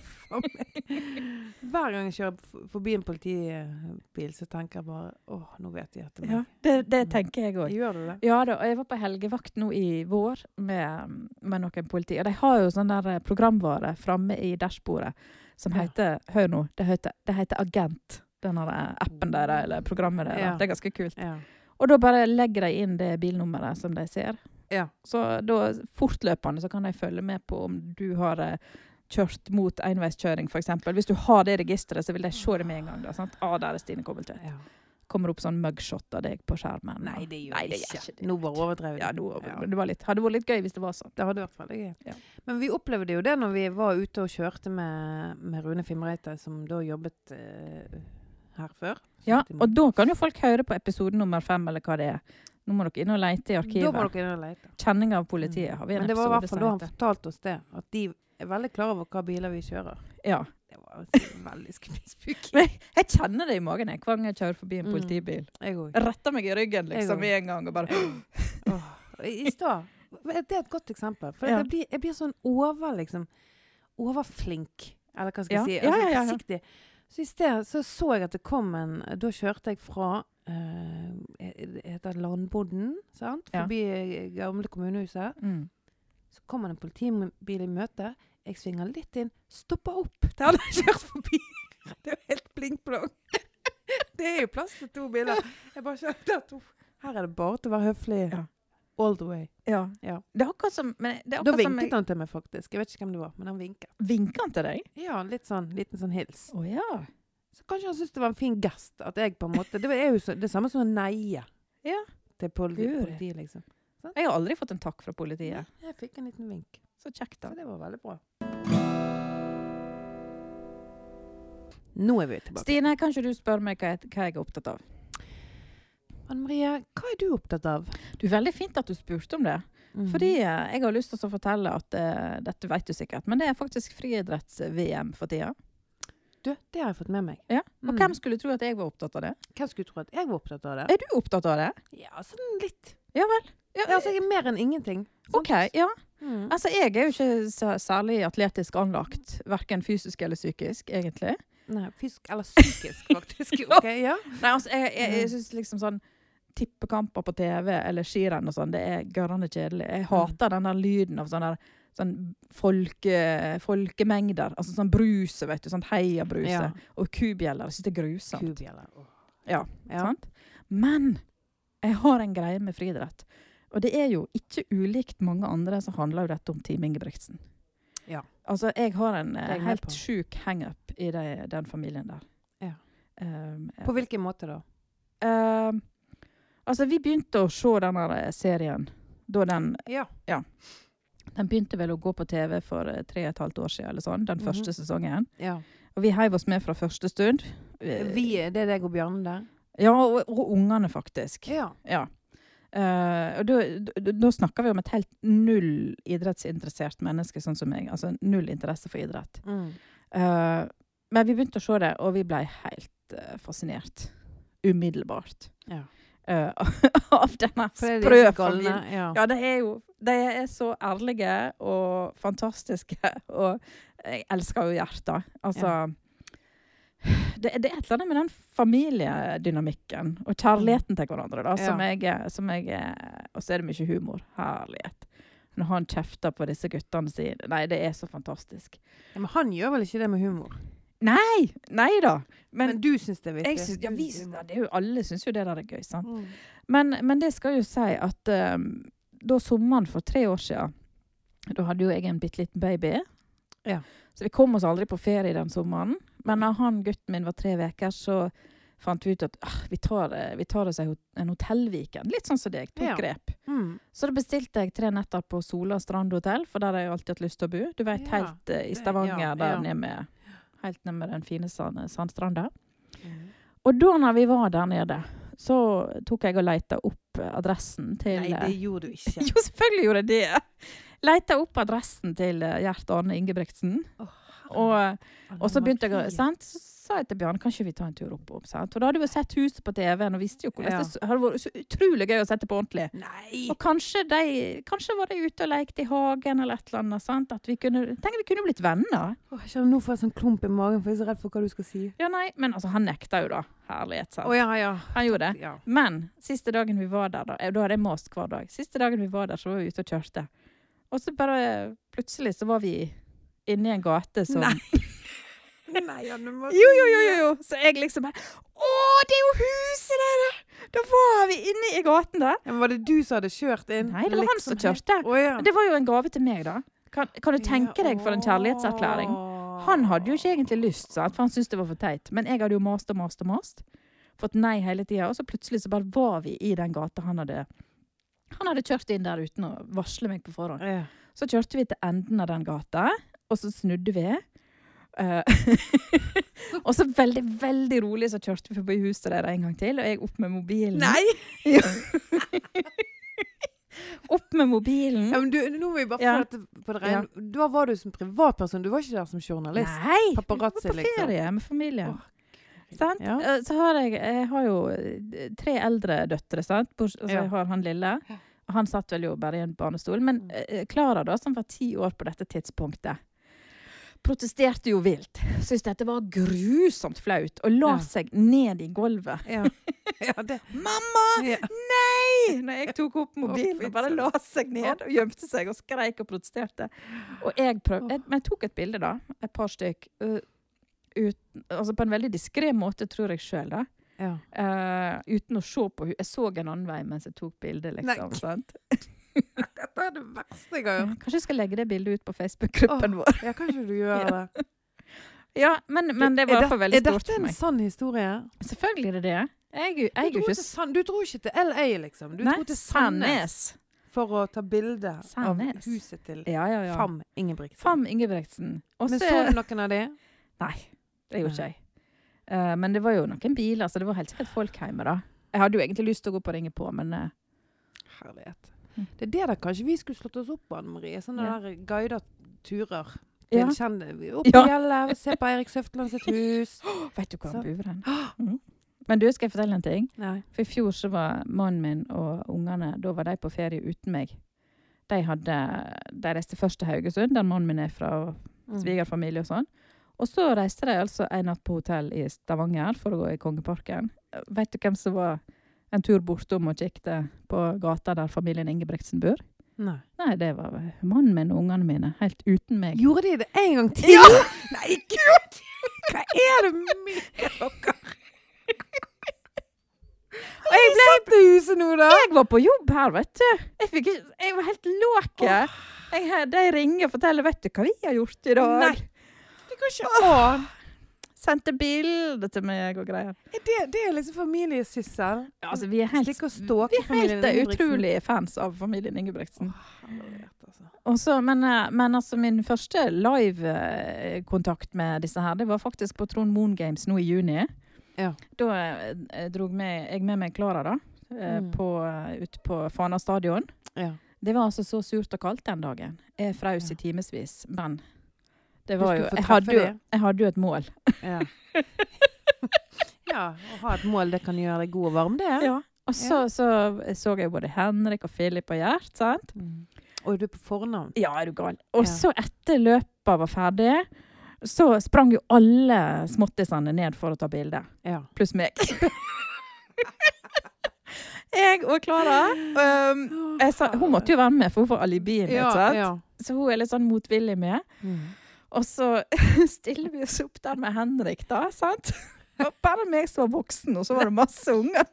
[SPEAKER 3] Hver gang jeg kjører f- forbi en politibil, så tenker jeg bare åh, nå vet de etter meg.
[SPEAKER 2] ja. Det, det tenker jeg òg.
[SPEAKER 3] Gjør du det?
[SPEAKER 2] Ja da, og jeg var på helgevakt nå i vår med, med noen politi. Og de har jo sånn der eh, programvare framme i dashbordet som
[SPEAKER 3] Ja.
[SPEAKER 2] heter Hør nå, det heter, det heter Agent. Den her eh, appen der, eller programmet der.
[SPEAKER 3] Ja.
[SPEAKER 2] Det er ganske kult.
[SPEAKER 3] Ja.
[SPEAKER 2] Og da bare legger de inn det bilnummeret som de ser.
[SPEAKER 3] Ja.
[SPEAKER 2] Så da fortløpende så kan de følge med på om du har eh, kjørt mot enveiskjøring, f.eks. Hvis du har det registeret, så vil de se det med en gang. da, sant? Ah, der er Stine Kobbeltvedt.
[SPEAKER 3] ja.
[SPEAKER 2] Kommer opp sånn mugshot av deg på skjermen.
[SPEAKER 3] Nei,
[SPEAKER 2] og-
[SPEAKER 3] det gjør
[SPEAKER 2] Nei,
[SPEAKER 3] jeg
[SPEAKER 2] det gjør
[SPEAKER 3] ikke.
[SPEAKER 2] ikke det.
[SPEAKER 3] Nå bare overdrev
[SPEAKER 2] Ja,
[SPEAKER 3] jeg.
[SPEAKER 2] nå,
[SPEAKER 3] Ja.
[SPEAKER 2] men Det var litt, hadde vært litt gøy hvis det var sånn.
[SPEAKER 3] Det hadde vært veldig gøy.
[SPEAKER 2] Ja.
[SPEAKER 3] Men vi opplevde jo det når vi var ute og kjørte med, med Rune Fimreite, som da jobbet eh, her før.
[SPEAKER 2] Ja,
[SPEAKER 3] Som-
[SPEAKER 2] og da kan jo folk høre på episode nummer fem, eller hva det er. Nå må dere inn og lete i
[SPEAKER 3] da må
[SPEAKER 2] arkivet.
[SPEAKER 3] dere inn og lete.
[SPEAKER 2] Kjenning av politiet har vi en
[SPEAKER 3] Men det var i
[SPEAKER 2] episode
[SPEAKER 3] hvert fall da
[SPEAKER 2] som
[SPEAKER 3] han
[SPEAKER 2] heter.
[SPEAKER 3] fortalte oss det, at de er veldig klar over hva biler vi kjører.
[SPEAKER 2] Ja.
[SPEAKER 3] Det var altså veldig skummelt. spooky.
[SPEAKER 2] Men jeg kjenner det i magen jeg, hver gang jeg kjører forbi en
[SPEAKER 3] Mm.
[SPEAKER 2] politibil.
[SPEAKER 3] Jeg òg.
[SPEAKER 2] Retter meg i ryggen liksom med en gang og bare
[SPEAKER 3] I stad Det er et godt eksempel. For
[SPEAKER 2] Ja.
[SPEAKER 3] jeg, blir, jeg blir sånn over, liksom Overflink, eller hva skal jeg
[SPEAKER 2] Ja.
[SPEAKER 3] si.
[SPEAKER 2] Ja,
[SPEAKER 3] Altså,
[SPEAKER 2] ja, ja, ja.
[SPEAKER 3] Forsiktig. Så i sted så, så jeg at det kom en Da kjørte jeg fra eh, det heter Landboden, sant?
[SPEAKER 2] Ja.
[SPEAKER 3] Forbi eh, gamle kommunehuset.
[SPEAKER 2] mm.
[SPEAKER 3] Så kommer det en politibil i møte. Jeg svinger litt inn, stopper opp der han har kjørt forbi. Det er jo helt blink-blong. Det er jo plass til to biler. Jeg bare skjønte at uff, her er det bare til å være høflig.
[SPEAKER 2] Ja.
[SPEAKER 3] All the way.
[SPEAKER 2] Ja.
[SPEAKER 3] Ja.
[SPEAKER 2] Det er akkurat som men det er
[SPEAKER 3] Da
[SPEAKER 2] akkurat som
[SPEAKER 3] vinket
[SPEAKER 2] jeg,
[SPEAKER 3] han til meg, faktisk. Jeg vet ikke hvem det var, men han vinket.
[SPEAKER 2] Vinker han til deg?
[SPEAKER 3] Ja, litt sånn, liten sånn hils.
[SPEAKER 2] Å ja.
[SPEAKER 3] Så kanskje han syntes det var en fin gest. At jeg på en måte Det er jo så, det samme som å neie
[SPEAKER 2] Ja.
[SPEAKER 3] til politi,
[SPEAKER 2] Guri.
[SPEAKER 3] politiet, liksom.
[SPEAKER 2] Jeg har aldri fått en takk fra politiet.
[SPEAKER 3] Jeg fikk en liten vink.
[SPEAKER 2] Så kjekt, da.
[SPEAKER 3] Så det var veldig bra. Nå er vi tilbake.
[SPEAKER 2] Stine, kan ikke du spørre meg hva jeg, hva jeg er opptatt av?
[SPEAKER 3] Anne Marie, hva er du opptatt av?
[SPEAKER 2] Du, Veldig fint at du spurte om det.
[SPEAKER 3] Mhm.
[SPEAKER 2] Fordi eh, jeg har lyst til å fortelle at eh, dette vet du sikkert, men det er faktisk friidretts-VM for tida.
[SPEAKER 3] Du, det har jeg fått med meg.
[SPEAKER 2] Ja. Og
[SPEAKER 3] Mm.
[SPEAKER 2] hvem skulle tro at jeg var opptatt av det?
[SPEAKER 3] Hvem skulle tro at jeg var opptatt av det?
[SPEAKER 2] Er du opptatt av det?
[SPEAKER 3] Ja, sånn litt.
[SPEAKER 2] Ja vel. Ja,
[SPEAKER 3] Ja, altså, jeg er mer enn ingenting. sant?
[SPEAKER 2] OK. Ja.
[SPEAKER 3] Mhm.
[SPEAKER 2] Altså, jeg er jo ikke så- særlig atletisk anlagt. Verken fysisk eller psykisk, egentlig.
[SPEAKER 3] Nei, fysisk eller psykisk, faktisk. Ok, ja.
[SPEAKER 2] Nei, altså, jeg, jeg, jeg
[SPEAKER 3] Mm.
[SPEAKER 2] syns liksom sånn tippekamper på TV eller skirenn og sånn, det er gørrende kjedelig.
[SPEAKER 3] Mm.
[SPEAKER 2] Jeg hater den der lyden av sånn der sånn folke, folkemengder. Altså sånn bruse, vet du. Sånn heiabruse.
[SPEAKER 3] Ja.
[SPEAKER 2] Og kubjeller. Jeg syns det er grusomt.
[SPEAKER 3] Kubjeller. Åh.
[SPEAKER 2] Ja,
[SPEAKER 3] Ja.
[SPEAKER 2] Sant? Men jeg har en greie med friidrett. Og det er jo ikke ulikt mange andre så handler jo dette om Team Ingebrigtsen.
[SPEAKER 3] Ja.
[SPEAKER 2] Altså, jeg har en
[SPEAKER 3] er
[SPEAKER 2] eh,
[SPEAKER 3] jeg med
[SPEAKER 2] helt
[SPEAKER 3] på.
[SPEAKER 2] sjuk hangup i de, den familien der.
[SPEAKER 3] Ja.
[SPEAKER 2] Um,
[SPEAKER 3] På hvilken måte da?
[SPEAKER 2] um, altså, vi begynte å se denne eh, serien da den
[SPEAKER 3] Ja.
[SPEAKER 2] Den begynte vel å gå på TV for eh, tre og et halvt år siden, eller sånn, den
[SPEAKER 3] Mhm.
[SPEAKER 2] første sesongen.
[SPEAKER 3] ja.
[SPEAKER 2] Og vi heiv oss med fra første stund. Eh,
[SPEAKER 3] Vi, det er deg og Bjarne der?
[SPEAKER 2] Ja, og, og ungene, faktisk.
[SPEAKER 3] Ja.
[SPEAKER 2] Ja. Eh, og da, da, da snakker vi om et helt null idrettsinteressert menneske, sånn som meg. Altså null interesse for idrett.
[SPEAKER 3] Mm.
[SPEAKER 2] Eh, men vi begynte å se det, og vi ble helt eh, fascinert. Umiddelbart.
[SPEAKER 3] Ja.
[SPEAKER 2] Eh, av denne
[SPEAKER 3] For det er
[SPEAKER 2] sprø
[SPEAKER 3] de som galne.
[SPEAKER 2] familien.
[SPEAKER 3] Ja.
[SPEAKER 2] Ja, det er jo De er så ærlige og fantastiske, og jeg elsker jo hjertet. Altså det, det er et eller annet med den familiedynamikken og kjærligheten til hverandre da, som, jeg, som jeg Og så er det mye humor. Herlighet. Når han kjefter på disse guttene sine. Nei, det er så fantastisk.
[SPEAKER 3] Ja, Men han gjør vel ikke det med humor?
[SPEAKER 2] Nei! Nei da.
[SPEAKER 3] Men,
[SPEAKER 2] Men,
[SPEAKER 3] du syns det er vittig?
[SPEAKER 2] jeg syns, ja, vi syns det er jo, alle syns jo det der er gøy. sant?
[SPEAKER 3] Mm.
[SPEAKER 2] Men, men det skal jo si at ehm, da sommeren for tre år siden, da hadde jo jeg en bitte liten baby.
[SPEAKER 3] Ja.
[SPEAKER 2] Så vi kom oss aldri på ferie den sommeren. Men da han gutten min var tre uker, så fant vi ut at ah, vi, tar, eh, vi tar oss en hot- en hotellviken. Litt sånn som deg, to
[SPEAKER 3] Ja.
[SPEAKER 2] grep.
[SPEAKER 3] Mm.
[SPEAKER 2] Så da bestilte jeg tre netter på Sola strandhotell, for der har jeg alltid hatt lyst til å bo. Du vet,
[SPEAKER 3] Ja,
[SPEAKER 2] helt eh, i
[SPEAKER 3] det-
[SPEAKER 2] Stavanger,
[SPEAKER 3] ja,
[SPEAKER 2] der
[SPEAKER 3] ja.
[SPEAKER 2] nede med, helt nede med den fine sand, sandstranda.
[SPEAKER 3] Mm.
[SPEAKER 2] Og da når vi var der nede, så tok jeg og leita opp eh, adressen til
[SPEAKER 3] Nei, det
[SPEAKER 2] eh,
[SPEAKER 3] gjorde du ikke.
[SPEAKER 2] Jo, selvfølgelig gjorde jeg det! Leita opp adressen til eh, Gjert Arne Ingebrigtsen. Og, eh, og så begynte jeg å sant? Så sa jeg til Bjarne kan ikke vi ta en tur opp. opp sant? Og da hadde vi jo sett huset på TV-en og visste jo hvordan
[SPEAKER 3] Ja.
[SPEAKER 2] det hadde vært så utrolig gøy å sette på ordentlig.
[SPEAKER 3] Nei!
[SPEAKER 2] Og kanskje, de, kanskje var de ute og lekte i hagen eller et eller annet. sant? At vi kunne, tenk, vi kunne blitt venner.
[SPEAKER 3] Åh, jeg kjenner nå får jeg sånn klump i magen, for jeg er så redd for hva du skal si.
[SPEAKER 2] Ja, nei, Men altså, han nekta jo, da. Herlighet,
[SPEAKER 3] Å
[SPEAKER 2] sant.
[SPEAKER 3] ja, ja.
[SPEAKER 2] Han gjorde det.
[SPEAKER 3] ja.
[SPEAKER 2] Men siste dagen vi var der, da, eh, da hadde jeg mast hver dag. Siste dagen vi var der, så var vi ute og kjørte. Og så bare plutselig så var vi inne i en gate som
[SPEAKER 3] Nei. Nei, ja, du må
[SPEAKER 2] Jo, jo, jo, jo, jo! Så jeg liksom bare Å, det er jo huset der! Da var vi inne i gaten der.
[SPEAKER 3] Ja, men var det du som hadde kjørt inn?
[SPEAKER 2] Nei, det liksom var han som kjørte.
[SPEAKER 3] Å ja.
[SPEAKER 2] Det var jo en gave til meg, da. Kan, kan du tenke deg for en kjærlighetserklæring? Han hadde jo ikke egentlig lyst, sant? for han syntes det var for teit. Men jeg hadde jo mast og mast og mast. Fått nei hele tida. Og så plutselig så bare var vi i den gata han hadde Han hadde kjørt inn der uten å varsle meg på forhånd.
[SPEAKER 3] Ja.
[SPEAKER 2] Så kjørte vi til enden av den gata, og så snudde vi. Eh, og så veldig, veldig rolig så kjørte vi forbi huset der en gang til, og jeg opp med mobilen.
[SPEAKER 3] Nei!
[SPEAKER 2] Opp med mobilen.
[SPEAKER 3] Ja, men du, nå må vi bare
[SPEAKER 2] Ja.
[SPEAKER 3] få dette på det rene. Da var du som privatperson, du var ikke der som journalist.
[SPEAKER 2] Nei!
[SPEAKER 3] Paparazzi,
[SPEAKER 2] på
[SPEAKER 3] liksom.
[SPEAKER 2] ferie med familien.
[SPEAKER 3] Åh,
[SPEAKER 2] Sant?
[SPEAKER 3] Ja.
[SPEAKER 2] Eh, Så har jeg, jeg har jo eh, tre eldre døtre, sant? Bors- Altså,
[SPEAKER 3] Ja.
[SPEAKER 2] jeg har han lille.
[SPEAKER 3] Ja. Mm.
[SPEAKER 2] og Han satt vel jo bare i en barnestol. Men eh, Klara, da, som var ti år på dette tidspunktet, protesterte jo vilt. Syntes dette var grusomt flaut, og la
[SPEAKER 3] Ja.
[SPEAKER 2] seg ned i gulvet.
[SPEAKER 3] Ja. ja, det
[SPEAKER 2] Mamma!
[SPEAKER 3] ja.
[SPEAKER 2] Nei! Når jeg tok opp mobilen
[SPEAKER 3] Å,
[SPEAKER 2] og bare la seg ned og gjemte seg og skreik og protesterte. Og jeg prøvde, jeg, men jeg tok et bilde, da. Et par stykk. øh, uten- altså på en veldig diskré måte, tror jeg sjøl, da.
[SPEAKER 3] ja.
[SPEAKER 2] Eh, uten å se på henne. Jeg så en annen vei mens jeg tok bildet, liksom.
[SPEAKER 3] Nei.
[SPEAKER 2] Sant?
[SPEAKER 3] Dette er det verste jeg har hørt.
[SPEAKER 2] Kanskje jeg skal legge det bildet ut på Facebook-gruppen vår.
[SPEAKER 3] Ja, kanskje du gjør det.
[SPEAKER 2] Ja, men, men det
[SPEAKER 3] Er
[SPEAKER 2] var i
[SPEAKER 3] det-
[SPEAKER 2] hvert fall veldig
[SPEAKER 3] Er
[SPEAKER 2] stort
[SPEAKER 3] dette
[SPEAKER 2] for
[SPEAKER 3] en
[SPEAKER 2] meg.
[SPEAKER 3] sann historie?
[SPEAKER 2] Selvfølgelig er det det. Jeg, er jo- jeg er
[SPEAKER 3] du,
[SPEAKER 2] jo
[SPEAKER 3] dro
[SPEAKER 2] ikke
[SPEAKER 3] til Sand, du dro ikke til LA, liksom. Du
[SPEAKER 2] Nei,
[SPEAKER 3] dro til Sandnes for å ta bilde av
[SPEAKER 2] Sandnes.
[SPEAKER 3] huset til
[SPEAKER 2] Ja, ja, ja.
[SPEAKER 3] Fam Ingebrigtsen.
[SPEAKER 2] Fam Ingebrigtsen. Og
[SPEAKER 3] Men
[SPEAKER 2] så-
[SPEAKER 3] så du noen av de?
[SPEAKER 2] Nei, det gjorde ikke
[SPEAKER 3] Nei.
[SPEAKER 2] jeg. Eh, men det var jo noen biler, så det var helt sikkert folk hjemme da. Jeg hadde jo egentlig lyst til å gå opp og ringe på, men eh,
[SPEAKER 3] Herlighet.
[SPEAKER 2] Mm.
[SPEAKER 3] Det er det der kanskje vi skulle slått oss opp på, Anne Marie. Sånne
[SPEAKER 2] Ja.
[SPEAKER 3] der guida turer.
[SPEAKER 2] ja.
[SPEAKER 3] Til kjende- Opp på
[SPEAKER 2] Ja.
[SPEAKER 3] fjellet, se på Eirik Søfteland sitt hus.
[SPEAKER 2] sånn- vet du hvor
[SPEAKER 3] Så-
[SPEAKER 2] han bor hen? Mm. Men du, skal jeg fortelle en ting?
[SPEAKER 3] Nei.
[SPEAKER 2] For i fjor så var mannen min og ungene, da var de på ferie uten meg. De, hadde, de reiste først til Haugesund, der mannen min er fra, og
[SPEAKER 3] Mm.
[SPEAKER 2] svigerfamilie og sånn. Og så reiste de altså en natt på hotell i Stavanger for å gå i Kongeparken. Eh, Vet du hvem som var en tur bortom og kikket på gata der familien Ingebrigtsen bor.
[SPEAKER 3] Nei.
[SPEAKER 2] Nei, det var mannen min og ungene mine, helt uten meg.
[SPEAKER 3] Gjorde de det en gang til?
[SPEAKER 2] Ja!
[SPEAKER 3] Nei, gud! Hva er det med dere? Og jeg ble på huset nå, da.
[SPEAKER 2] Jeg var på jobb her, vet du. Jeg, fikk ikke, jeg var helt låke. Jeg had- De ringer og forteller 'Vet du hva vi har gjort i dag?'
[SPEAKER 3] Nei. Det går ikke an.
[SPEAKER 2] Sendte bilder til meg og greier.
[SPEAKER 3] Er Det, det er liksom familiesyssel.
[SPEAKER 2] Ja, altså, vi er helt,
[SPEAKER 3] Stikk og stalke
[SPEAKER 2] vi er
[SPEAKER 3] familien
[SPEAKER 2] helt eh,
[SPEAKER 3] Ingebrigtsen.
[SPEAKER 2] utrolige fans av familien Ingebrigtsen.
[SPEAKER 3] Altså.
[SPEAKER 2] Og så- men, eh, men altså, min første live-kontakt med disse her, det var faktisk på Trond Moen Games nå i juni.
[SPEAKER 3] Ja.
[SPEAKER 2] Da eh, drog med, jeg med meg Klara da, eh,
[SPEAKER 3] Mm.
[SPEAKER 2] på, ut på Fana stadion.
[SPEAKER 3] Ja.
[SPEAKER 2] Det var altså så surt og kaldt den dagen. Jeg frøs i timevis, men det
[SPEAKER 3] Du
[SPEAKER 2] var
[SPEAKER 3] skulle
[SPEAKER 2] jo
[SPEAKER 3] få
[SPEAKER 2] jeg
[SPEAKER 3] treffe
[SPEAKER 2] hadde jo,
[SPEAKER 3] det.
[SPEAKER 2] jeg hadde jo et mål.
[SPEAKER 3] Ja. ja. Å ha et mål det kan gjøre deg god og varm, det.
[SPEAKER 2] Og så så, så jeg både Henrik og Philip og Gjert, sant?
[SPEAKER 3] Mm. Og du er på fornavn.
[SPEAKER 2] Ja, er du gal. Og
[SPEAKER 3] Ja.
[SPEAKER 2] så etter løpet var ferdig, så sprang jo alle småttisene ned for å ta bilde.
[SPEAKER 3] Ja.
[SPEAKER 2] Pluss meg. jeg og Klara. Um, jeg sa, hun måtte jo være med, for hun var alibiet mitt.
[SPEAKER 3] ja,
[SPEAKER 2] sant?
[SPEAKER 3] ja.
[SPEAKER 2] Så hun er litt sånn motvillig med.
[SPEAKER 3] Mm.
[SPEAKER 2] Og så stiller vi oss opp der med Henrik, da. sant? Og bare meg som var voksen, og så var det masse unger.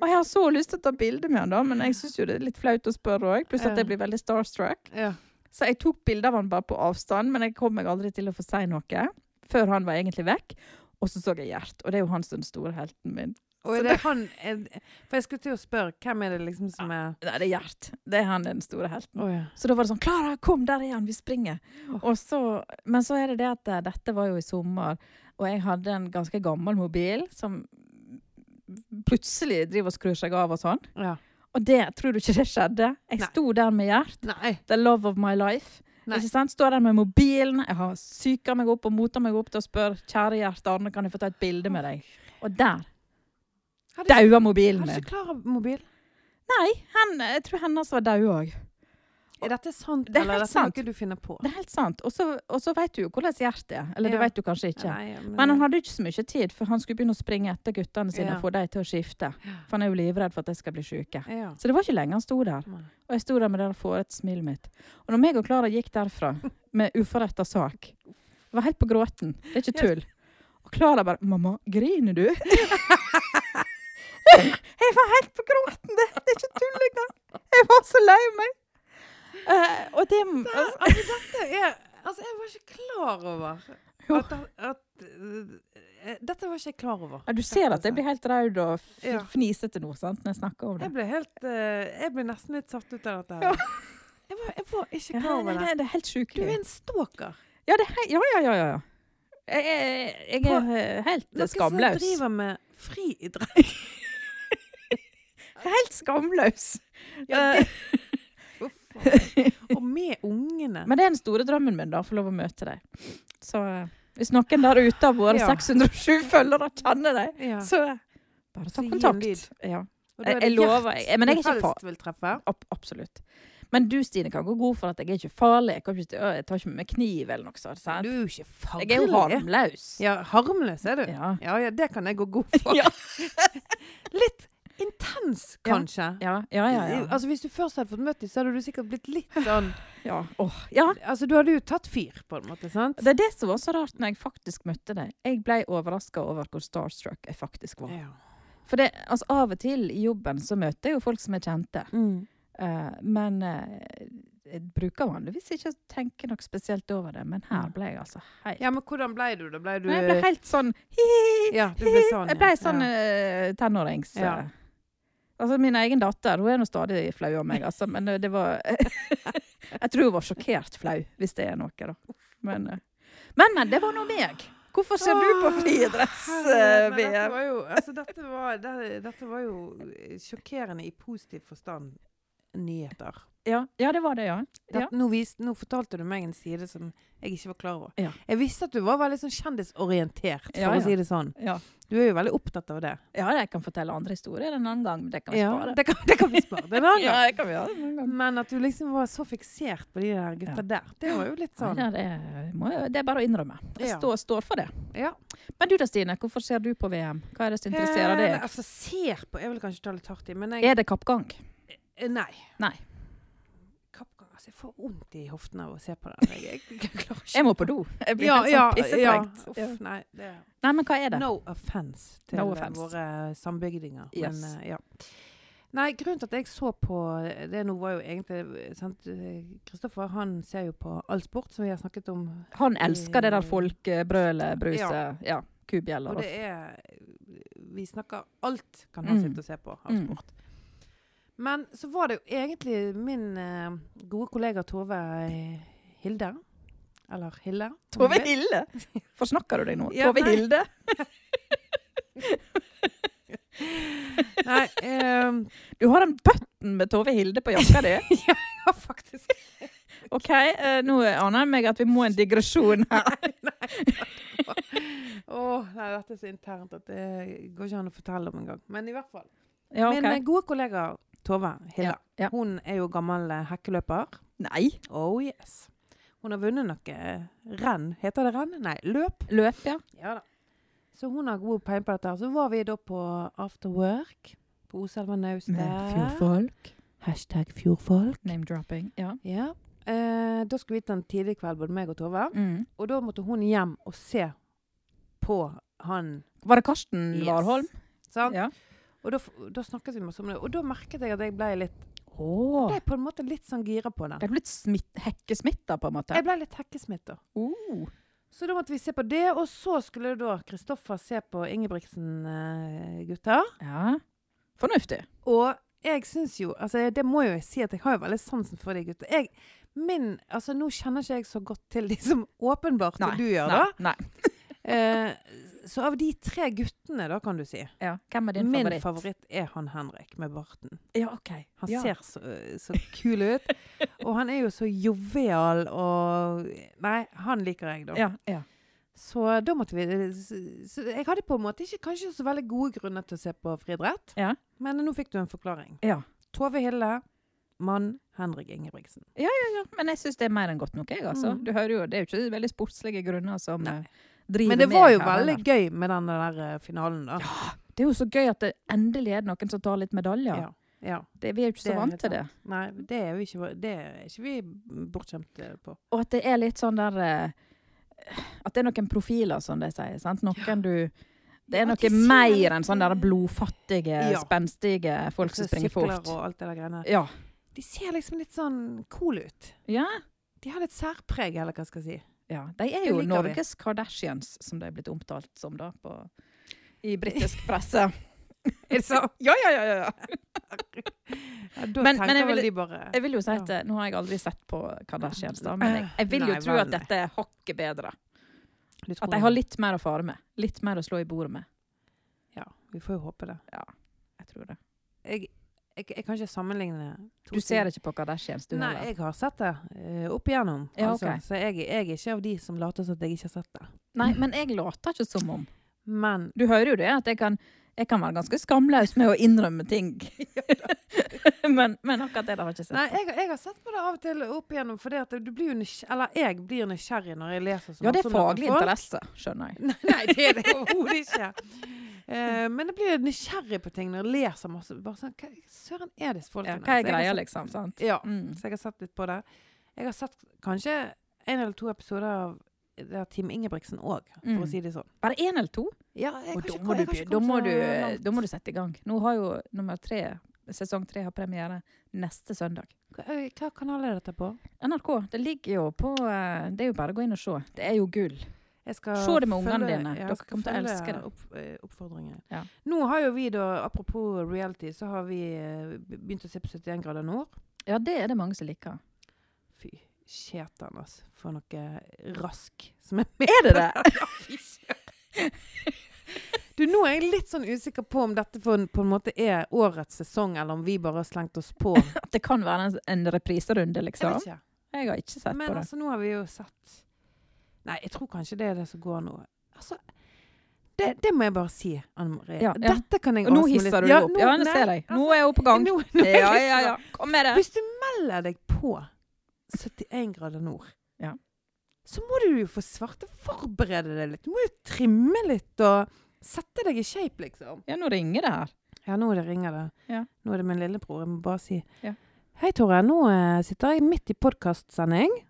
[SPEAKER 2] Og jeg har så lyst til å ta bilde med han, da, men jeg syns jo det er litt flaut å spørre òg. Pluss at jeg blir veldig starstruck.
[SPEAKER 3] ja.
[SPEAKER 2] Så jeg tok bilde av han bare på avstand, men jeg kom meg aldri til å få si noe før han var egentlig vekk. Og så så jeg Gjert, og det er jo han som er den store helten min.
[SPEAKER 3] Og
[SPEAKER 2] Så
[SPEAKER 3] er det han er, For jeg skulle til å spørre, hvem er det liksom som er
[SPEAKER 2] Nei, det er Gjert. Det er han den store helten.
[SPEAKER 3] Å ja.
[SPEAKER 2] Så da var det sånn 'Klara, kom, der er han! Vi springer!' Og så, men så er det det at eh, dette var jo i sommer, og jeg hadde en ganske gammel mobil som plutselig driver og skrur seg av og sånn.
[SPEAKER 3] ja.
[SPEAKER 2] Og det tror du ikke det skjedde? Jeg
[SPEAKER 3] Nei.
[SPEAKER 2] sto der med Gjert.
[SPEAKER 3] Nei.
[SPEAKER 2] The love of my life.
[SPEAKER 3] Nei.
[SPEAKER 2] Ikke sant? Står der med mobilen, jeg har psyka meg opp og mota meg opp til å spørre 'Kjære Gjert Arne, kan jeg få ta et bilde med deg?' Og der
[SPEAKER 3] Hadde ikke-
[SPEAKER 2] daua mobilen
[SPEAKER 3] hadde
[SPEAKER 2] min.
[SPEAKER 3] ikke Klara mobil?
[SPEAKER 2] Nei, han, jeg tror hennes var daud òg.
[SPEAKER 3] Er dette sant,
[SPEAKER 2] Det er
[SPEAKER 3] eller er
[SPEAKER 2] helt
[SPEAKER 3] dette sant.
[SPEAKER 2] sant.
[SPEAKER 3] noe du finner på?
[SPEAKER 2] Det er helt sant. Og så- Og så veit du jo hvordan Gjert er. Eller det
[SPEAKER 3] Ja.
[SPEAKER 2] veit du kanskje ikke.
[SPEAKER 3] Nei, ja,
[SPEAKER 2] Men han hadde ikke så mye tid, for han skulle begynne å springe etter guttene sine
[SPEAKER 3] Ja.
[SPEAKER 2] og få dem til å skifte. For han er jo livredd for at de skal bli syke.
[SPEAKER 3] ja.
[SPEAKER 2] Så det var ikke lenge han sto der.
[SPEAKER 3] Nei.
[SPEAKER 2] Og jeg sto der med det fårets-smilet mitt. Og når meg og Klara gikk derfra med uforretta sak jeg var helt på gråten. Det er ikke tull. Og Klara bare 'Mamma, griner du?' jeg var helt på gråten! Det, det er ikke tull engang! Jeg var så lei meg. Eh, og det
[SPEAKER 3] Altså, altså, dette er Altså, jeg var ikke klar over
[SPEAKER 2] Jo.
[SPEAKER 3] at, at eh, Dette var ikke jeg klar over.
[SPEAKER 2] ja, Du ser at jeg blir helt raud og f-
[SPEAKER 3] Ja.
[SPEAKER 2] fnisete nå sant, når jeg snakker om det.
[SPEAKER 3] Jeg ble helt eh, Jeg ble nesten litt satt ut av dette.
[SPEAKER 2] Ja.
[SPEAKER 3] her. Jeg, var, jeg var ikke
[SPEAKER 2] Ja,
[SPEAKER 3] klar
[SPEAKER 2] nei,
[SPEAKER 3] over
[SPEAKER 2] nei,
[SPEAKER 3] det.
[SPEAKER 2] det er helt
[SPEAKER 3] Du er
[SPEAKER 2] sjukelig.
[SPEAKER 3] en stalker.
[SPEAKER 2] Ja, det er, he- ja, ja, ja, ja, ja. Jeg, er- jeg er
[SPEAKER 3] På-
[SPEAKER 2] eh, helt eh,
[SPEAKER 3] Noen som
[SPEAKER 2] skamløs.
[SPEAKER 3] driver med friidrett.
[SPEAKER 2] Helt skamløs.
[SPEAKER 3] Ja,
[SPEAKER 2] Eh,
[SPEAKER 3] Og med ungene.
[SPEAKER 2] men det er den store drømmen min, da, å få lov å møte deg. Så eh, hvis noen der ute av våre
[SPEAKER 3] Ja.
[SPEAKER 2] 607 følgere kjenner deg,
[SPEAKER 3] ja.
[SPEAKER 2] så eh, bare
[SPEAKER 3] Så
[SPEAKER 2] ta
[SPEAKER 3] gi en
[SPEAKER 2] kontakt.
[SPEAKER 3] lyd.
[SPEAKER 2] Ja,
[SPEAKER 3] Og da er
[SPEAKER 2] jeg-
[SPEAKER 3] det
[SPEAKER 2] jeg lover,
[SPEAKER 3] Gjert
[SPEAKER 2] jeg- men jeg er
[SPEAKER 3] du
[SPEAKER 2] ikke
[SPEAKER 3] helst vil treffe.
[SPEAKER 2] ab absolutt. Men du, Stine, kan gå god for at jeg er ikke farlig. Jeg, kan ikke, øh, jeg tar ikke med meg kniv eller noe sånt.
[SPEAKER 3] Du
[SPEAKER 2] sant?
[SPEAKER 3] er jo ikke farlig.
[SPEAKER 2] Jeg er jo harmløs.
[SPEAKER 3] Ja, harmløs er du. Ja.
[SPEAKER 2] Ja.
[SPEAKER 3] ja det kan jeg gå god for.
[SPEAKER 2] Ja.
[SPEAKER 3] litt intens,
[SPEAKER 2] Ja.
[SPEAKER 3] kanskje.
[SPEAKER 2] Ja, ja, ja. ja.
[SPEAKER 3] Altså, hvis du først hadde fått møtt dem, så hadde du sikkert blitt litt sånn
[SPEAKER 2] ja. Åh, ja.
[SPEAKER 3] Altså, du hadde jo tatt fyr, på en måte, sant?
[SPEAKER 2] Det er det som var så rart når jeg faktisk møtte deg. Jeg ble overraska over hvor starstruck jeg faktisk var.
[SPEAKER 3] Ja.
[SPEAKER 2] For det, altså, av og til i jobben så møter jeg jo folk som jeg kjente.
[SPEAKER 3] Mm.
[SPEAKER 2] Eh, men eh, jeg bruker vanligvis ikke å tenke noe spesielt over det. Men her ble jeg altså helt
[SPEAKER 3] ja, men hvordan ble du? Da ble du eh,
[SPEAKER 2] Nei, Jeg ble helt sånn hi-hi-hi.
[SPEAKER 3] Ja, du ble sånn.
[SPEAKER 2] Jeg ble
[SPEAKER 3] ja.
[SPEAKER 2] sånn
[SPEAKER 3] ja.
[SPEAKER 2] eh, tenårings... eh.
[SPEAKER 3] Ja.
[SPEAKER 2] Altså, Min egen datter hun er nå stadig flau over meg, altså, men eh, det var Jeg tror hun var sjokkert flau, hvis det er noe, da. Men, eh, men, men det var nå meg! Hvorfor ser du på eh,
[SPEAKER 3] Åh, herregud, men Dette
[SPEAKER 2] friidretts-VM?
[SPEAKER 3] eh, var jo, altså, dette, var, det, dette var jo sjokkerende i positiv forstand. nyheter.
[SPEAKER 2] Ja, ja det var det, ja.
[SPEAKER 3] Det,
[SPEAKER 2] Ja.
[SPEAKER 3] nå, vis, nå fortalte du meg en side som jeg ikke var klar over.
[SPEAKER 2] Ja.
[SPEAKER 3] Jeg visste at du var veldig sånn kjendisorientert, for
[SPEAKER 2] Ja,
[SPEAKER 3] å
[SPEAKER 2] ja.
[SPEAKER 3] si det sånn.
[SPEAKER 2] Ja,
[SPEAKER 3] Du er jo veldig opptatt av det.
[SPEAKER 2] ja jeg kan fortelle andre historier en annen gang, men det kan vi
[SPEAKER 3] Ja,
[SPEAKER 2] spare.
[SPEAKER 3] det kan, det kan vi spare det en annen
[SPEAKER 2] Ja,
[SPEAKER 3] gang.
[SPEAKER 2] det kan vi gjøre en annen gang.
[SPEAKER 3] Men at du liksom var så fiksert på de der
[SPEAKER 2] Ja.
[SPEAKER 3] gutta der, det var jo litt sånn
[SPEAKER 2] Nei, det, er, må, jeg- det er bare å innrømme. Jeg
[SPEAKER 3] Ja.
[SPEAKER 2] står, står for det.
[SPEAKER 3] Ja.
[SPEAKER 2] Men du da, Stine, hvorfor ser du på VM? Hva er det som interesserer
[SPEAKER 3] Eh,
[SPEAKER 2] deg?
[SPEAKER 3] Altså, ser på Jeg vil kanskje ta litt hardt i, men jeg
[SPEAKER 2] Er det kappgang?
[SPEAKER 3] eh, Nei.
[SPEAKER 2] Nei.
[SPEAKER 3] Kappgang Altså, jeg får vondt i hoften av å se på det. Jeg, jeg, jeg klarer ikke
[SPEAKER 2] Jeg må på do. Jeg blir
[SPEAKER 3] Ja,
[SPEAKER 2] helt
[SPEAKER 3] ja,
[SPEAKER 2] sånn pissetrengt.
[SPEAKER 3] ja.
[SPEAKER 2] Ja.
[SPEAKER 3] Uff, nei. Det er
[SPEAKER 2] Nei, men hva er det?
[SPEAKER 3] No offense til eh,
[SPEAKER 2] No offense.
[SPEAKER 3] våre sambygdinger.
[SPEAKER 2] Yes.
[SPEAKER 3] Men, eh, ja. Nei, grunnen til at jeg så på eh, det nå, var jo egentlig sant, eh, Kristoffer han ser jo på all sport, som vi har snakket om.
[SPEAKER 2] Han elsker det der folkebrølet, bruset, ja, kubjeller
[SPEAKER 3] Og
[SPEAKER 2] og
[SPEAKER 3] det er eh, Vi snakker alt kan han
[SPEAKER 2] Mm.
[SPEAKER 3] sitte og se på av
[SPEAKER 2] Mm.
[SPEAKER 3] sport. Men så var det jo egentlig min eh, gode kollega Tove eh, Hilde. Eller Hille. om du
[SPEAKER 2] Tove
[SPEAKER 3] vil.
[SPEAKER 2] Hilde! Forsnakker du deg nå?
[SPEAKER 3] Ja,
[SPEAKER 2] Tove
[SPEAKER 3] nei.
[SPEAKER 2] Hilde?
[SPEAKER 3] Nei, eh,
[SPEAKER 2] Du har en bøtten med Tove Hilde på jakka di.
[SPEAKER 3] ja, faktisk
[SPEAKER 2] OK, eh, nå aner jeg meg at vi må en digresjon her.
[SPEAKER 3] Åh, nei, dette er så internt at det går ikke an å fortelle om engang. Men i hvert fall.
[SPEAKER 2] Ja,
[SPEAKER 3] Min eh,
[SPEAKER 2] OK.
[SPEAKER 3] gode kollega Tove Hilla,
[SPEAKER 2] Ja, ja.
[SPEAKER 3] hun er jo gammel eh, hekkeløper.
[SPEAKER 2] Nei.
[SPEAKER 3] Oh yes. Hun har vunnet noe eh, renn. Heter det renn? Nei, løp.
[SPEAKER 2] Løp, ja.
[SPEAKER 3] Ja da. Så hun har god peil på dette. her. Så var vi da på after work på Oselva Naustet.
[SPEAKER 2] fjordfolk.
[SPEAKER 3] Hashtag fjordfolk.
[SPEAKER 2] Name-dropping. Ja.
[SPEAKER 3] Ja. Eh, da skulle vi til en tidlig kveld, både meg og Tove.
[SPEAKER 2] Mm.
[SPEAKER 3] Og da måtte hun hjem og se på han.
[SPEAKER 2] Var det Karsten
[SPEAKER 3] Yes.
[SPEAKER 2] Warholm?
[SPEAKER 3] Sant?
[SPEAKER 2] Ja.
[SPEAKER 3] Og da, f- da snakket vi masse om det, og da merket jeg at jeg ble litt
[SPEAKER 2] Oh.
[SPEAKER 3] ble på en måte litt sånn gira på det.
[SPEAKER 2] Det er blitt smitt, hekkesmitta, på en måte.
[SPEAKER 3] Jeg ble litt hekkesmitta.
[SPEAKER 2] Oh.
[SPEAKER 3] Så da måtte vi se på det, og så skulle da Kristoffer se på Ingebrigtsen-gutter.
[SPEAKER 2] Ja. Fornuftig.
[SPEAKER 3] Og jeg syns jo Altså, det må jo jeg si at jeg har jo veldig sansen for de gutta. Jeg, min, altså, nå kjenner ikke jeg så godt til de som åpenbart
[SPEAKER 2] Nei,
[SPEAKER 3] du gjør,
[SPEAKER 2] Nei. Nei.
[SPEAKER 3] da. Eh, så av de tre guttene, da, kan du si,
[SPEAKER 2] Ja. Hvem er din
[SPEAKER 3] min
[SPEAKER 2] favoritt?
[SPEAKER 3] favoritt. er han Henrik med barten.
[SPEAKER 2] Ja, OK.
[SPEAKER 3] Han
[SPEAKER 2] ja.
[SPEAKER 3] ser så, så kul ut. Og han er jo så jovial og Nei, han liker jeg, da.
[SPEAKER 2] Ja, ja.
[SPEAKER 3] Så da måtte vi så, så Jeg hadde på en måte ikke kanskje så veldig gode grunner til å se på friidrett,
[SPEAKER 2] Ja.
[SPEAKER 3] men nå fikk du en forklaring.
[SPEAKER 2] Ja.
[SPEAKER 3] Tove Hille, mann Henrik Ingebrigtsen.
[SPEAKER 2] Men jeg syns det er mer enn godt nok, jeg, altså.
[SPEAKER 3] Mm.
[SPEAKER 2] Du hører jo, det er jo ikke veldig sportslige grunner som
[SPEAKER 3] Nei.
[SPEAKER 2] eh, driver
[SPEAKER 3] Men det
[SPEAKER 2] meg
[SPEAKER 3] var jo
[SPEAKER 2] her
[SPEAKER 3] veldig
[SPEAKER 2] heller.
[SPEAKER 3] gøy med den der eh, finalen, da.
[SPEAKER 2] Det er jo så gøy at det endelig er noen som tar litt medaljer.
[SPEAKER 3] Ja. ja.
[SPEAKER 2] Det, vi er jo ikke
[SPEAKER 3] Det
[SPEAKER 2] så
[SPEAKER 3] er
[SPEAKER 2] vant
[SPEAKER 3] helt
[SPEAKER 2] til det.
[SPEAKER 3] Nei, det er, jo ikke, det er ikke vi bortskjemte på.
[SPEAKER 2] Og at det er litt sånn der eh, At det er noen profiler, som de sier. Sant? Noen du Det er
[SPEAKER 3] Ja, at
[SPEAKER 2] noe
[SPEAKER 3] de ser litt-
[SPEAKER 2] mer enn sånne der blodfattige,
[SPEAKER 3] Ja.
[SPEAKER 2] spenstige folk som
[SPEAKER 3] Så
[SPEAKER 2] springer
[SPEAKER 3] sykler
[SPEAKER 2] fort.
[SPEAKER 3] Og alt det der greiene.
[SPEAKER 2] Ja.
[SPEAKER 3] De ser liksom litt sånn cool ut.
[SPEAKER 2] ja.
[SPEAKER 3] De har litt særpreg, eller hva skal jeg si.
[SPEAKER 2] ja. De er
[SPEAKER 3] Det
[SPEAKER 2] jo
[SPEAKER 3] liker vi.
[SPEAKER 2] Norges Kardashians, som de er blitt omtalt som da, på, i britisk presse.
[SPEAKER 3] Er det sant?
[SPEAKER 2] Ja, ja, ja, ja, ja.
[SPEAKER 3] Ja, da
[SPEAKER 2] Men- men
[SPEAKER 3] tenker
[SPEAKER 2] jeg ville-
[SPEAKER 3] vel de bare
[SPEAKER 2] Jeg vil jo si
[SPEAKER 3] Ja.
[SPEAKER 2] at eh, Nå har jeg aldri sett på Kardashians, da, men jeg, jeg vil jo
[SPEAKER 3] Nei,
[SPEAKER 2] tro
[SPEAKER 3] vel,
[SPEAKER 2] at
[SPEAKER 3] nei.
[SPEAKER 2] dette er hakket bedre.
[SPEAKER 3] Du tror
[SPEAKER 2] At de har litt mer å fare med. Litt mer å slå i bordet med.
[SPEAKER 3] Ja, vi får jo håpe det.
[SPEAKER 2] Jeg tror det.
[SPEAKER 3] Jeg, jeg, jeg kan ikke sammenligne to
[SPEAKER 2] Du ser
[SPEAKER 3] ting.
[SPEAKER 2] ikke på Kardashians, du
[SPEAKER 3] Nei,
[SPEAKER 2] heller?
[SPEAKER 3] jeg har sett det eh, opp igjennom.
[SPEAKER 2] Ja,
[SPEAKER 3] altså.
[SPEAKER 2] ok.
[SPEAKER 3] Så jeg, jeg er ikke av de som later som at jeg ikke har sett det.
[SPEAKER 2] Nei, men jeg later ikke som om.
[SPEAKER 3] Men
[SPEAKER 2] Du hører jo det, at jeg kan, jeg kan være ganske skamløs med å innrømme ting. men, men akkurat det der har jeg ikke sett.
[SPEAKER 3] Nei, jeg, jeg har sett på det av og til opp igjennom, for du blir jo nysg- Eller jeg blir nysgjerrig når jeg leser sånn.
[SPEAKER 2] ja, det er
[SPEAKER 3] om noen
[SPEAKER 2] faglig
[SPEAKER 3] folk.
[SPEAKER 2] interesse, skjønner jeg.
[SPEAKER 3] Nei, nei, det er det overhodet ikke. Eh, men jeg blir nysgjerrig på ting når jeg leser masse. Bare sånn, Hva søren er disse
[SPEAKER 2] Ja,
[SPEAKER 3] folkene?
[SPEAKER 2] hva
[SPEAKER 3] Så
[SPEAKER 2] er
[SPEAKER 3] jeg har
[SPEAKER 2] greia,
[SPEAKER 3] sett-
[SPEAKER 2] liksom? sant?
[SPEAKER 3] Ja.
[SPEAKER 2] Mm.
[SPEAKER 3] Så jeg har sett litt på det. Jeg har sett kanskje en eller to episoder av det der Team Ingebrigtsen òg, for
[SPEAKER 2] Mm.
[SPEAKER 3] å si det sånn.
[SPEAKER 2] Bare én eller to?
[SPEAKER 3] Ja, jeg
[SPEAKER 2] Og
[SPEAKER 3] har
[SPEAKER 2] da
[SPEAKER 3] ikke-
[SPEAKER 2] må, du,
[SPEAKER 3] jeg har ikke
[SPEAKER 2] da, må
[SPEAKER 3] kommet
[SPEAKER 2] du, eh,
[SPEAKER 3] så langt.
[SPEAKER 2] da må du sette i gang. Nå har jo nummer tre, sesong tre har premiere neste søndag.
[SPEAKER 3] Hva- øy, Hva kanal er dette på?
[SPEAKER 2] NRK, det ligger jo på eh, Det er jo bare å gå inn og se. Det er jo gull.
[SPEAKER 3] Jeg skal
[SPEAKER 2] Se det med ungene
[SPEAKER 3] følge-
[SPEAKER 2] dine.
[SPEAKER 3] ja, jeg
[SPEAKER 2] Dere
[SPEAKER 3] skal
[SPEAKER 2] kommer til å
[SPEAKER 3] følge
[SPEAKER 2] elske det.
[SPEAKER 3] Opp, eh, oppfordringen.
[SPEAKER 2] Ja.
[SPEAKER 3] Nå har jo vi da, apropos reality, så har vi eh, begynt å se på 71 grader nord.
[SPEAKER 2] Ja, det er det mange som liker.
[SPEAKER 3] Fy sjetan, altså. For noe rask som er med.
[SPEAKER 2] Er det det?
[SPEAKER 3] Fy søren. Du, nå er jeg litt sånn usikker på om dette for, på en måte er årets sesong, eller om vi bare har slengt oss på.
[SPEAKER 2] At det kan være en, en repriserunde,
[SPEAKER 3] Jeg
[SPEAKER 2] liksom.
[SPEAKER 3] vet ikke.
[SPEAKER 2] Jeg har ikke sett
[SPEAKER 3] Men
[SPEAKER 2] på det.
[SPEAKER 3] altså, nå har vi jo sett Nei, jeg tror kanskje det er det som går nå. Altså, det, det må jeg bare si, Anne Marie.
[SPEAKER 2] Ja, ja.
[SPEAKER 3] Dette kan jeg
[SPEAKER 2] Og nå
[SPEAKER 3] orke meg litt-
[SPEAKER 2] hisser du deg opp.
[SPEAKER 3] nå-
[SPEAKER 2] Ja, nå
[SPEAKER 3] nei,
[SPEAKER 2] ser jeg. Nå
[SPEAKER 3] altså,
[SPEAKER 2] er hun på gang.
[SPEAKER 3] nå- nå er jeg
[SPEAKER 2] Ja,
[SPEAKER 3] litt
[SPEAKER 2] ja,
[SPEAKER 3] sånn-
[SPEAKER 2] ja. Kom med det.
[SPEAKER 3] Hvis du melder deg på 71 grader nord,
[SPEAKER 2] Ja.
[SPEAKER 3] så må du jo få svarte forberede deg litt. Du må jo trimme litt og sette deg i shape, liksom.
[SPEAKER 2] Ja, nå ringer det her.
[SPEAKER 3] Ja, nå er det ringer det.
[SPEAKER 2] Ja.
[SPEAKER 3] Nå er det min lillebror. Jeg må bare si
[SPEAKER 2] Ja.
[SPEAKER 3] Hei, Tore. Nå eh, sitter jeg midt i podkastsending.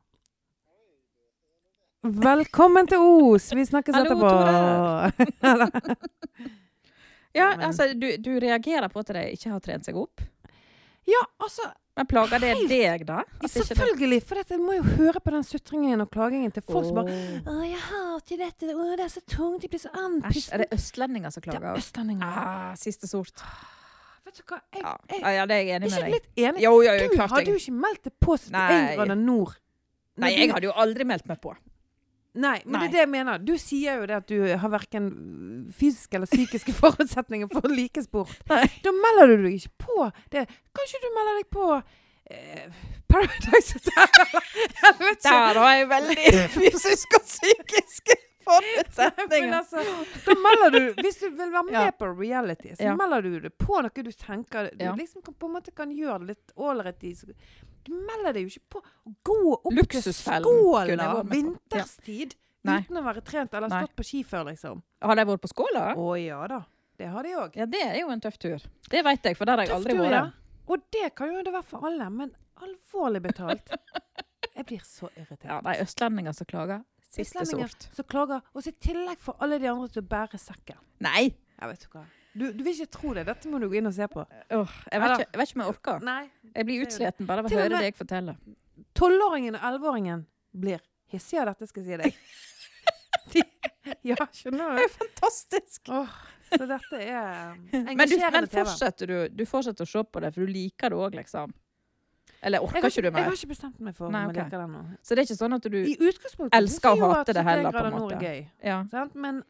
[SPEAKER 3] Velkommen til Os! Vi snakkes
[SPEAKER 2] Hallo,
[SPEAKER 3] etterpå.
[SPEAKER 2] Ja,
[SPEAKER 3] Ja, men-
[SPEAKER 2] altså, du, du reagerer på at de ikke har trent seg opp.
[SPEAKER 3] ja, altså
[SPEAKER 2] Men plager det
[SPEAKER 3] Helt-
[SPEAKER 2] deg, da? At ikke det-
[SPEAKER 3] Selvfølgelig! For dette, jeg må jo høre på den sutringen og klagingen til folk som bare
[SPEAKER 2] Åh.
[SPEAKER 3] Å, jeg hater dette. Å, det er så tungt. Jeg blir så
[SPEAKER 2] Æsj, er
[SPEAKER 3] andpusten.
[SPEAKER 2] det østlendinger som
[SPEAKER 3] Det er
[SPEAKER 2] klager?
[SPEAKER 3] østlendinger.
[SPEAKER 2] Ah, siste sort. Ah,
[SPEAKER 3] Vet du hva, jeg,
[SPEAKER 2] Ja,
[SPEAKER 3] jeg,
[SPEAKER 2] ja, ja det er jeg
[SPEAKER 3] Eh, er
[SPEAKER 2] enig
[SPEAKER 3] ikke
[SPEAKER 2] med
[SPEAKER 3] du
[SPEAKER 2] deg
[SPEAKER 3] litt enig.
[SPEAKER 2] Jo, jo, jo,
[SPEAKER 3] Du
[SPEAKER 2] klart
[SPEAKER 3] hadde jo
[SPEAKER 2] jeg.
[SPEAKER 3] ikke meldt deg på 71
[SPEAKER 2] Nei.
[SPEAKER 3] grader nord.
[SPEAKER 2] Nei,
[SPEAKER 3] Når
[SPEAKER 2] jeg
[SPEAKER 3] du-
[SPEAKER 2] hadde jo aldri meldt meg på.
[SPEAKER 3] Nei, men det
[SPEAKER 2] Nei.
[SPEAKER 3] er det jeg mener. Du sier jo det at du har verken fysiske eller psykiske forutsetninger for å like sport.
[SPEAKER 2] Nei.
[SPEAKER 3] Da melder du deg ikke på det. Kanskje du melder deg på eh, Paradise Hotel? Jeg vet ikke.
[SPEAKER 2] Der har jeg veldig fysisk og psykisk
[SPEAKER 3] Men
[SPEAKER 2] forutsetninger.
[SPEAKER 3] altså, da melder du Hvis du vil være med
[SPEAKER 2] Ja.
[SPEAKER 3] på reality, så
[SPEAKER 2] Ja.
[SPEAKER 3] melder du det på noe du tenker Du
[SPEAKER 2] Ja.
[SPEAKER 3] liksom kan, på en måte kan gjøre det litt ålreit i. så- Du melder deg jo ikke på å gå opp til
[SPEAKER 2] Luksusfellen kunne jeg
[SPEAKER 3] Skåla
[SPEAKER 2] vært med på. Ja.
[SPEAKER 3] vinterstid
[SPEAKER 2] Nei.
[SPEAKER 3] uten å være trent eller
[SPEAKER 2] Nei.
[SPEAKER 3] stått på ski før, liksom.
[SPEAKER 2] Har de vært på Skåla?
[SPEAKER 3] Å ja da. Det har de òg.
[SPEAKER 2] Ja, det er jo en tøff tur. Det vet jeg, for der har jeg aldri vært.
[SPEAKER 3] Og det kan jo det være for alle, men alvorlig betalt. Jeg blir så irritert.
[SPEAKER 2] Ja, de østlendinger som klager. Siste
[SPEAKER 3] Østlendinger
[SPEAKER 2] sort.
[SPEAKER 3] som klager, og så i tillegg får alle de andre til å bære sekken.
[SPEAKER 2] Nei!
[SPEAKER 3] Jeg vet ikke hva. Du, du vil ikke tro det. Dette må du gå inn og se på.
[SPEAKER 2] Åh, jeg, vet
[SPEAKER 3] Ja da.
[SPEAKER 2] ikke, jeg vet ikke om jeg orker.
[SPEAKER 3] Nei.
[SPEAKER 2] Jeg blir utsliten bare av å
[SPEAKER 3] Til og
[SPEAKER 2] høre
[SPEAKER 3] med-
[SPEAKER 2] deg fortelle.
[SPEAKER 3] Tolvåringen og elleveåringen blir hissige av dette, skal jeg si deg. De, ja, skjønner du?
[SPEAKER 2] Fantastisk!
[SPEAKER 3] Åh, så dette er um,
[SPEAKER 2] Men, du,
[SPEAKER 3] engasjerende
[SPEAKER 2] men
[SPEAKER 3] TV.
[SPEAKER 2] fortsetter du, du fortsetter å se på det, for du liker det òg, liksom? Eller
[SPEAKER 3] Jeg
[SPEAKER 2] orker
[SPEAKER 3] har,
[SPEAKER 2] ikke du
[SPEAKER 3] jeg har
[SPEAKER 2] mer?
[SPEAKER 3] ikke bestemt meg for om
[SPEAKER 2] Nei,
[SPEAKER 3] jeg
[SPEAKER 2] ok.
[SPEAKER 3] liker den nå.
[SPEAKER 2] Så det er ikke sånn at du
[SPEAKER 3] I utgangspunktet
[SPEAKER 2] elsker og
[SPEAKER 3] synes jeg jo
[SPEAKER 2] hater
[SPEAKER 3] at
[SPEAKER 2] det heller,
[SPEAKER 3] 71 grader
[SPEAKER 2] på en
[SPEAKER 3] nord er
[SPEAKER 2] måte.
[SPEAKER 3] Gøy,
[SPEAKER 2] Ja.
[SPEAKER 3] sant? Men,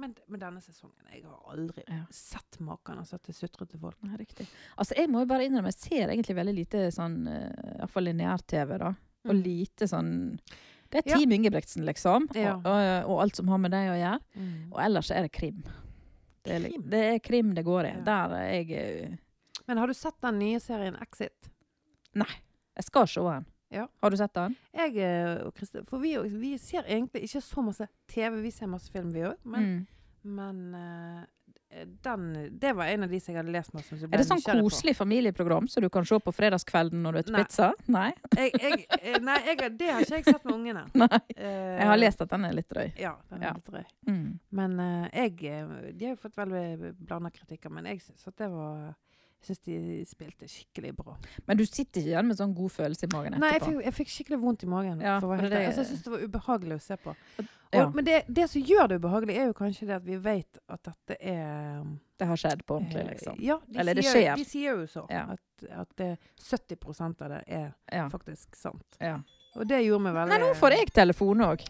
[SPEAKER 3] men, men denne sesongen Jeg har aldri
[SPEAKER 2] Ja.
[SPEAKER 3] sett maken altså, til sutrete folk.
[SPEAKER 2] Nei, riktig. Altså, jeg må jo bare innrømme, jeg ser egentlig veldig lite sånn, eh, i hvert fall lineær-TV, da. Og
[SPEAKER 3] Mm.
[SPEAKER 2] lite sånn Det er
[SPEAKER 3] Ja.
[SPEAKER 2] Team Ingebrigtsen, liksom.
[SPEAKER 3] Ja.
[SPEAKER 2] Og, og, og alt som har med det å gjøre. Og ellers er det krim. Det er, li-
[SPEAKER 3] Krim?
[SPEAKER 2] det er krim det går i.
[SPEAKER 3] Ja.
[SPEAKER 2] Der er jeg eh,
[SPEAKER 3] Men har du sett den nye serien Exit?
[SPEAKER 2] Jeg skal se den.
[SPEAKER 3] Ja.
[SPEAKER 2] Har du sett den?
[SPEAKER 3] Jeg eh, og Kristin For vi, vi ser egentlig ikke så masse TV, vi ser masse film, vi òg. Men,
[SPEAKER 2] mm.
[SPEAKER 3] men eh, den Det var en av de som jeg hadde lest masse om. som jeg
[SPEAKER 2] Er det
[SPEAKER 3] ble
[SPEAKER 2] sånn
[SPEAKER 3] nysgjerrig på.
[SPEAKER 2] koselig familieprogram som du kan se på fredagskvelden når du spiser
[SPEAKER 3] Nei.
[SPEAKER 2] pizza? Nei.
[SPEAKER 3] Jeg, jeg, eh, nei, jeg, det har ikke jeg sett med ungene.
[SPEAKER 2] Nei.
[SPEAKER 3] Eh,
[SPEAKER 2] Jeg har lest at den er litt drøy.
[SPEAKER 3] Ja, den er
[SPEAKER 2] Ja.
[SPEAKER 3] litt drøy.
[SPEAKER 2] Mm.
[SPEAKER 3] Men eh, jeg eh, De har jo fått veldig blanda kritikker, men jeg syns at det var jeg syns de spilte skikkelig bra.
[SPEAKER 2] Men du sitter ikke igjen med sånn god følelse i magen etterpå?
[SPEAKER 3] Nei, jeg fikk, jeg fikk skikkelig vondt i magen.
[SPEAKER 2] Ja,
[SPEAKER 3] for å være
[SPEAKER 2] for
[SPEAKER 3] helt ærlig.
[SPEAKER 2] det-
[SPEAKER 3] altså, jeg syns det var ubehagelig å se på.
[SPEAKER 2] ja,
[SPEAKER 3] Og, men det, det som gjør det ubehagelig, er jo kanskje det at vi vet at dette er
[SPEAKER 2] det har skjedd på ordentlig,
[SPEAKER 3] eh,
[SPEAKER 2] liksom.
[SPEAKER 3] Ja, de
[SPEAKER 2] Eller det
[SPEAKER 3] sier,
[SPEAKER 2] skjer.
[SPEAKER 3] De sier jo så.
[SPEAKER 2] Ja.
[SPEAKER 3] At, at det, 70 av det er
[SPEAKER 2] Ja.
[SPEAKER 3] faktisk sant.
[SPEAKER 2] ja.
[SPEAKER 3] Og det gjorde meg veldig
[SPEAKER 2] Nei, nå får jeg telefon òg.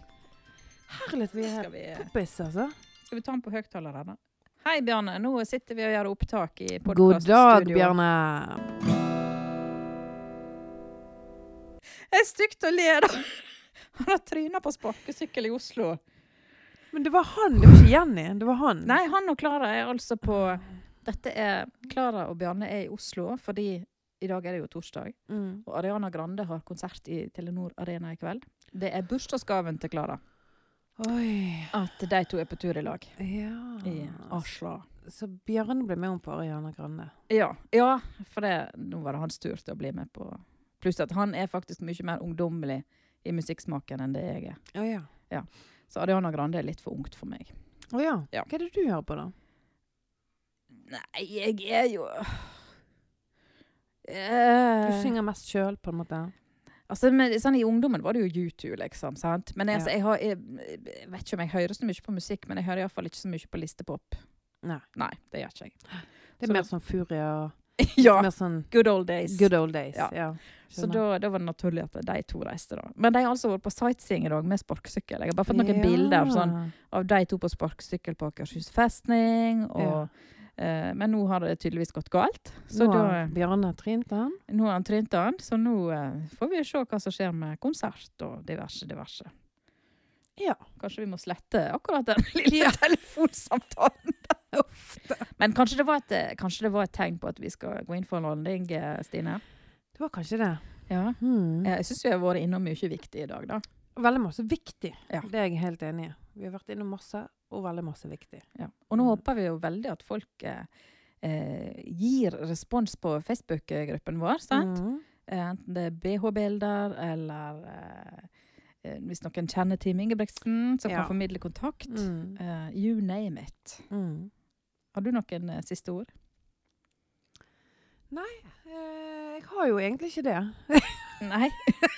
[SPEAKER 3] Herlighet, vi er
[SPEAKER 2] Skal, vi-
[SPEAKER 3] poppis, altså.
[SPEAKER 2] skal vi ta den på høyttaleren? da? Hei, Bjarne. Nå sitter vi og gjør opptak i
[SPEAKER 3] God dag,
[SPEAKER 2] podcaststudio.
[SPEAKER 3] Bjarne.
[SPEAKER 2] Det er stygt å le, da. Han har tryna på sparkesykkel i Oslo.
[SPEAKER 3] Men det var han, det var ikke Jenny. Det var han.
[SPEAKER 2] Nei, han og Klara er altså på Dette er Klara og Bjarne er i Oslo fordi i dag er det jo torsdag,
[SPEAKER 3] Mm.
[SPEAKER 2] og Ariana Grande har konsert i Telenor Arena i kveld. Det er bursdagsgaven til Klara
[SPEAKER 3] Oi.
[SPEAKER 2] at de to er på tur i lag i
[SPEAKER 3] Ja.
[SPEAKER 2] Asla.
[SPEAKER 3] Så Bjarne ble med om på Ariana Grande.
[SPEAKER 2] Ja, ja for det, nå var det hans tur til å bli med på Pluss at han er faktisk mye mer ungdommelig i musikksmaken enn det jeg er.
[SPEAKER 3] Å ja.
[SPEAKER 2] Så Ariana Grande er litt for ungt for meg.
[SPEAKER 3] Å ja.
[SPEAKER 2] Ja.
[SPEAKER 3] Hva er det du hører på, da?
[SPEAKER 2] Nei, jeg er jo
[SPEAKER 3] Du
[SPEAKER 2] Eh,
[SPEAKER 3] synger mest sjøl, på en måte?
[SPEAKER 2] altså, men, sånn, I ungdommen var det jo U2, liksom. sant? Men jeg, altså,
[SPEAKER 3] Ja.
[SPEAKER 2] jeg, har, jeg, jeg vet ikke om jeg hører så mye på musikk, men jeg hører iallfall ikke så mye på listepop.
[SPEAKER 3] Nei.
[SPEAKER 2] Nei, det gjør ikke jeg.
[SPEAKER 3] Det
[SPEAKER 2] Så
[SPEAKER 3] er mer
[SPEAKER 2] det-
[SPEAKER 3] sånn Furia
[SPEAKER 2] ja.
[SPEAKER 3] Mer sånn
[SPEAKER 2] Good old days.
[SPEAKER 3] good old days.
[SPEAKER 2] Ja.
[SPEAKER 3] Ja.
[SPEAKER 2] så
[SPEAKER 3] skjønner.
[SPEAKER 2] da, da var det naturlig at de to reiste, da. Men de har altså vært på sightseeing i dag med sparkesykkel. Jeg har bare fått noen
[SPEAKER 3] Ja.
[SPEAKER 2] bilder av, sånn, av de to på sparkesykkel på Akershus festning.
[SPEAKER 3] Ja.
[SPEAKER 2] Og, eh, men nå har det tydeligvis gått galt. Så
[SPEAKER 3] Nå
[SPEAKER 2] nå,
[SPEAKER 3] har
[SPEAKER 2] da,
[SPEAKER 3] Bjarne trynt han.
[SPEAKER 2] nå har han trynt han, så nå eh, får vi se hva som skjer med konsert og diverse, diverse.
[SPEAKER 3] Ja.
[SPEAKER 2] Kanskje vi må slette akkurat den lille
[SPEAKER 3] Ja.
[SPEAKER 2] telefonsamtalen. Men kanskje det, var et, eh, kanskje det var et tegn på at vi skal gå inn for en landing, eh, Stine?
[SPEAKER 3] Det var kanskje det.
[SPEAKER 2] Ja.
[SPEAKER 3] Hmm.
[SPEAKER 2] Jeg syns vi har vært innom mye viktig i dag, da.
[SPEAKER 3] Veldig masse viktig.
[SPEAKER 2] Ja.
[SPEAKER 3] Det er jeg helt enig i. Vi har vært innom masse, og veldig masse viktig.
[SPEAKER 2] Ja. Og nå
[SPEAKER 3] Mm.
[SPEAKER 2] håper vi jo veldig at folk eh, eh, gir respons på Facebook-gruppen vår. Sant?
[SPEAKER 3] Mhm.
[SPEAKER 2] Eh, enten det er BH-bilder eller eh, eh, hvis noen kjenner Team Ingebrigtsen, som
[SPEAKER 3] Ja.
[SPEAKER 2] kan formidle kontakt.
[SPEAKER 3] Mhm.
[SPEAKER 2] Eh, you name it.
[SPEAKER 3] Mhm.
[SPEAKER 2] Har du noen eh, siste ord?
[SPEAKER 3] Eh, Jeg har jo egentlig ikke det.
[SPEAKER 2] Nei.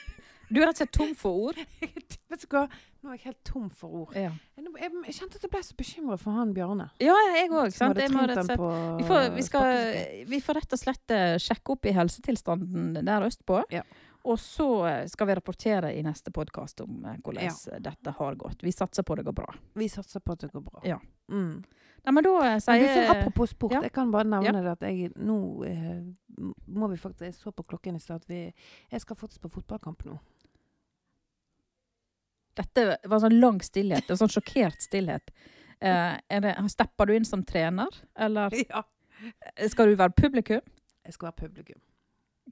[SPEAKER 2] Du er rett og slett tom for ord.
[SPEAKER 3] Vet du hva? Nå er jeg helt tom for ord.
[SPEAKER 2] Ja,
[SPEAKER 3] Jeg, nå- jeg, jeg kjente at jeg ble så bekymra for han Bjarne.
[SPEAKER 2] ja jeg òg.
[SPEAKER 3] som hadde
[SPEAKER 2] Jeg må
[SPEAKER 3] trynt
[SPEAKER 2] rett og
[SPEAKER 3] han
[SPEAKER 2] slett
[SPEAKER 3] på
[SPEAKER 2] Vi får, vi, skal,
[SPEAKER 3] sparkesykkel.
[SPEAKER 2] vi får rett og slett eh, sjekke opp i helsetilstanden der østpå.
[SPEAKER 3] Ja.
[SPEAKER 2] Og så eh, skal vi rapportere i neste podkast om eh, hvordan eh, dette har gått. Vi satser på det går bra.
[SPEAKER 3] Vi satser på at det går bra.
[SPEAKER 2] Ja.
[SPEAKER 3] Mm.
[SPEAKER 2] Nei, men da eh,
[SPEAKER 3] Men du,
[SPEAKER 2] sier
[SPEAKER 3] sånn, apropos sport,
[SPEAKER 2] ja.
[SPEAKER 3] jeg kan bare nevne
[SPEAKER 2] Ja.
[SPEAKER 3] det at jeg nå eh, m- må vi faktisk Jeg så på klokken i stad at vi Jeg skal faktisk på fotballkamp nå.
[SPEAKER 2] Dette var en sånn lang stillhet. En sånn sjokkert stillhet. Eh, er det, stepper du inn som trener, eller
[SPEAKER 3] Ja.
[SPEAKER 2] skal du være publikum?
[SPEAKER 3] Jeg skal være publikum.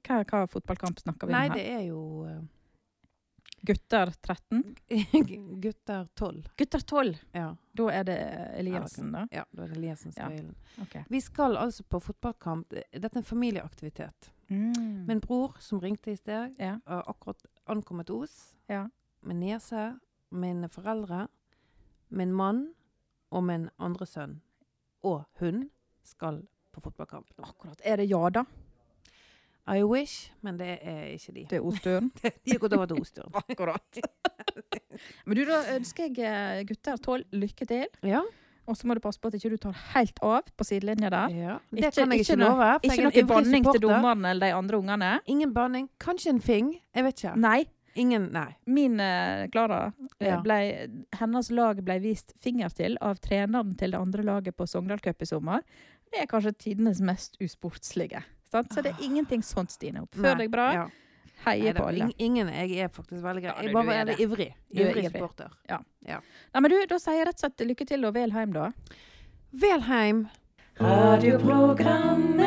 [SPEAKER 2] Hva, hva fotballkamp snakker vi
[SPEAKER 3] Nei,
[SPEAKER 2] om her?
[SPEAKER 3] det er jo
[SPEAKER 2] Gutter 13?
[SPEAKER 3] eh, gutter tolv.
[SPEAKER 2] Gutter 12!
[SPEAKER 3] Ja.
[SPEAKER 2] Da er det Eliassen, da.
[SPEAKER 3] ja. Da er det Eliassen
[SPEAKER 2] Ja.
[SPEAKER 3] Skøylen.
[SPEAKER 2] Ok.
[SPEAKER 3] Vi skal altså på fotballkamp. Dette er en familieaktivitet.
[SPEAKER 2] Mm.
[SPEAKER 3] Min bror som ringte i sted,
[SPEAKER 2] Ja.
[SPEAKER 3] har akkurat ankommet Os.
[SPEAKER 2] Ja.
[SPEAKER 3] Min niese, mine foreldre, min mann og min andre sønn og hun skal på fotballkamp. nå.
[SPEAKER 2] Akkurat. Er det ja, da?
[SPEAKER 3] I wish, men det er ikke de.
[SPEAKER 2] Det er Ostøren?
[SPEAKER 3] De har gått over til Osturen.
[SPEAKER 2] Akkurat. Men du, da ønsker jeg eh, gutter tolv lykke til.
[SPEAKER 3] Ja,
[SPEAKER 2] Og så må du passe på at ikke du tar helt av på sidelinja der.
[SPEAKER 3] ja. Det
[SPEAKER 2] Ikke-
[SPEAKER 3] kan jeg
[SPEAKER 2] ikke
[SPEAKER 3] ikke
[SPEAKER 2] noe-
[SPEAKER 3] love. for jeg
[SPEAKER 2] Ikke
[SPEAKER 3] er en
[SPEAKER 2] noe
[SPEAKER 3] ivrig
[SPEAKER 2] banning til
[SPEAKER 3] supporter.
[SPEAKER 2] dommerne eller de andre ungene.
[SPEAKER 3] Ingen banning. Kanskje en fing. Jeg vet ikke.
[SPEAKER 2] Nei.
[SPEAKER 3] Ingen, nei.
[SPEAKER 2] Min eh, Klara, eh,
[SPEAKER 3] Ja.
[SPEAKER 2] ble- hennes lag ble vist finger til av treneren til det andre laget på Sogndal Cup i sommer. Det er kanskje tidenes mest usportslige. Sant? Så det er ingenting sånt, Stine.
[SPEAKER 3] Ah. Nei.
[SPEAKER 2] Oppfør deg bra.
[SPEAKER 3] Ja.
[SPEAKER 2] Heie
[SPEAKER 3] Nei,
[SPEAKER 2] på
[SPEAKER 3] da,
[SPEAKER 2] alle.
[SPEAKER 3] ing- Ingen. Jeg er faktisk veldig grei.
[SPEAKER 2] Ja,
[SPEAKER 3] Jeg
[SPEAKER 2] du
[SPEAKER 3] bare
[SPEAKER 2] er
[SPEAKER 3] er
[SPEAKER 2] det.
[SPEAKER 3] ivrig.
[SPEAKER 2] Du er
[SPEAKER 3] Ivrig
[SPEAKER 2] ivrig.
[SPEAKER 3] supporter.
[SPEAKER 2] Nei, men du, da sier jeg rett og slett lykke til og vel hjem, da.
[SPEAKER 3] Velheim.
[SPEAKER 1] Radioprogrammet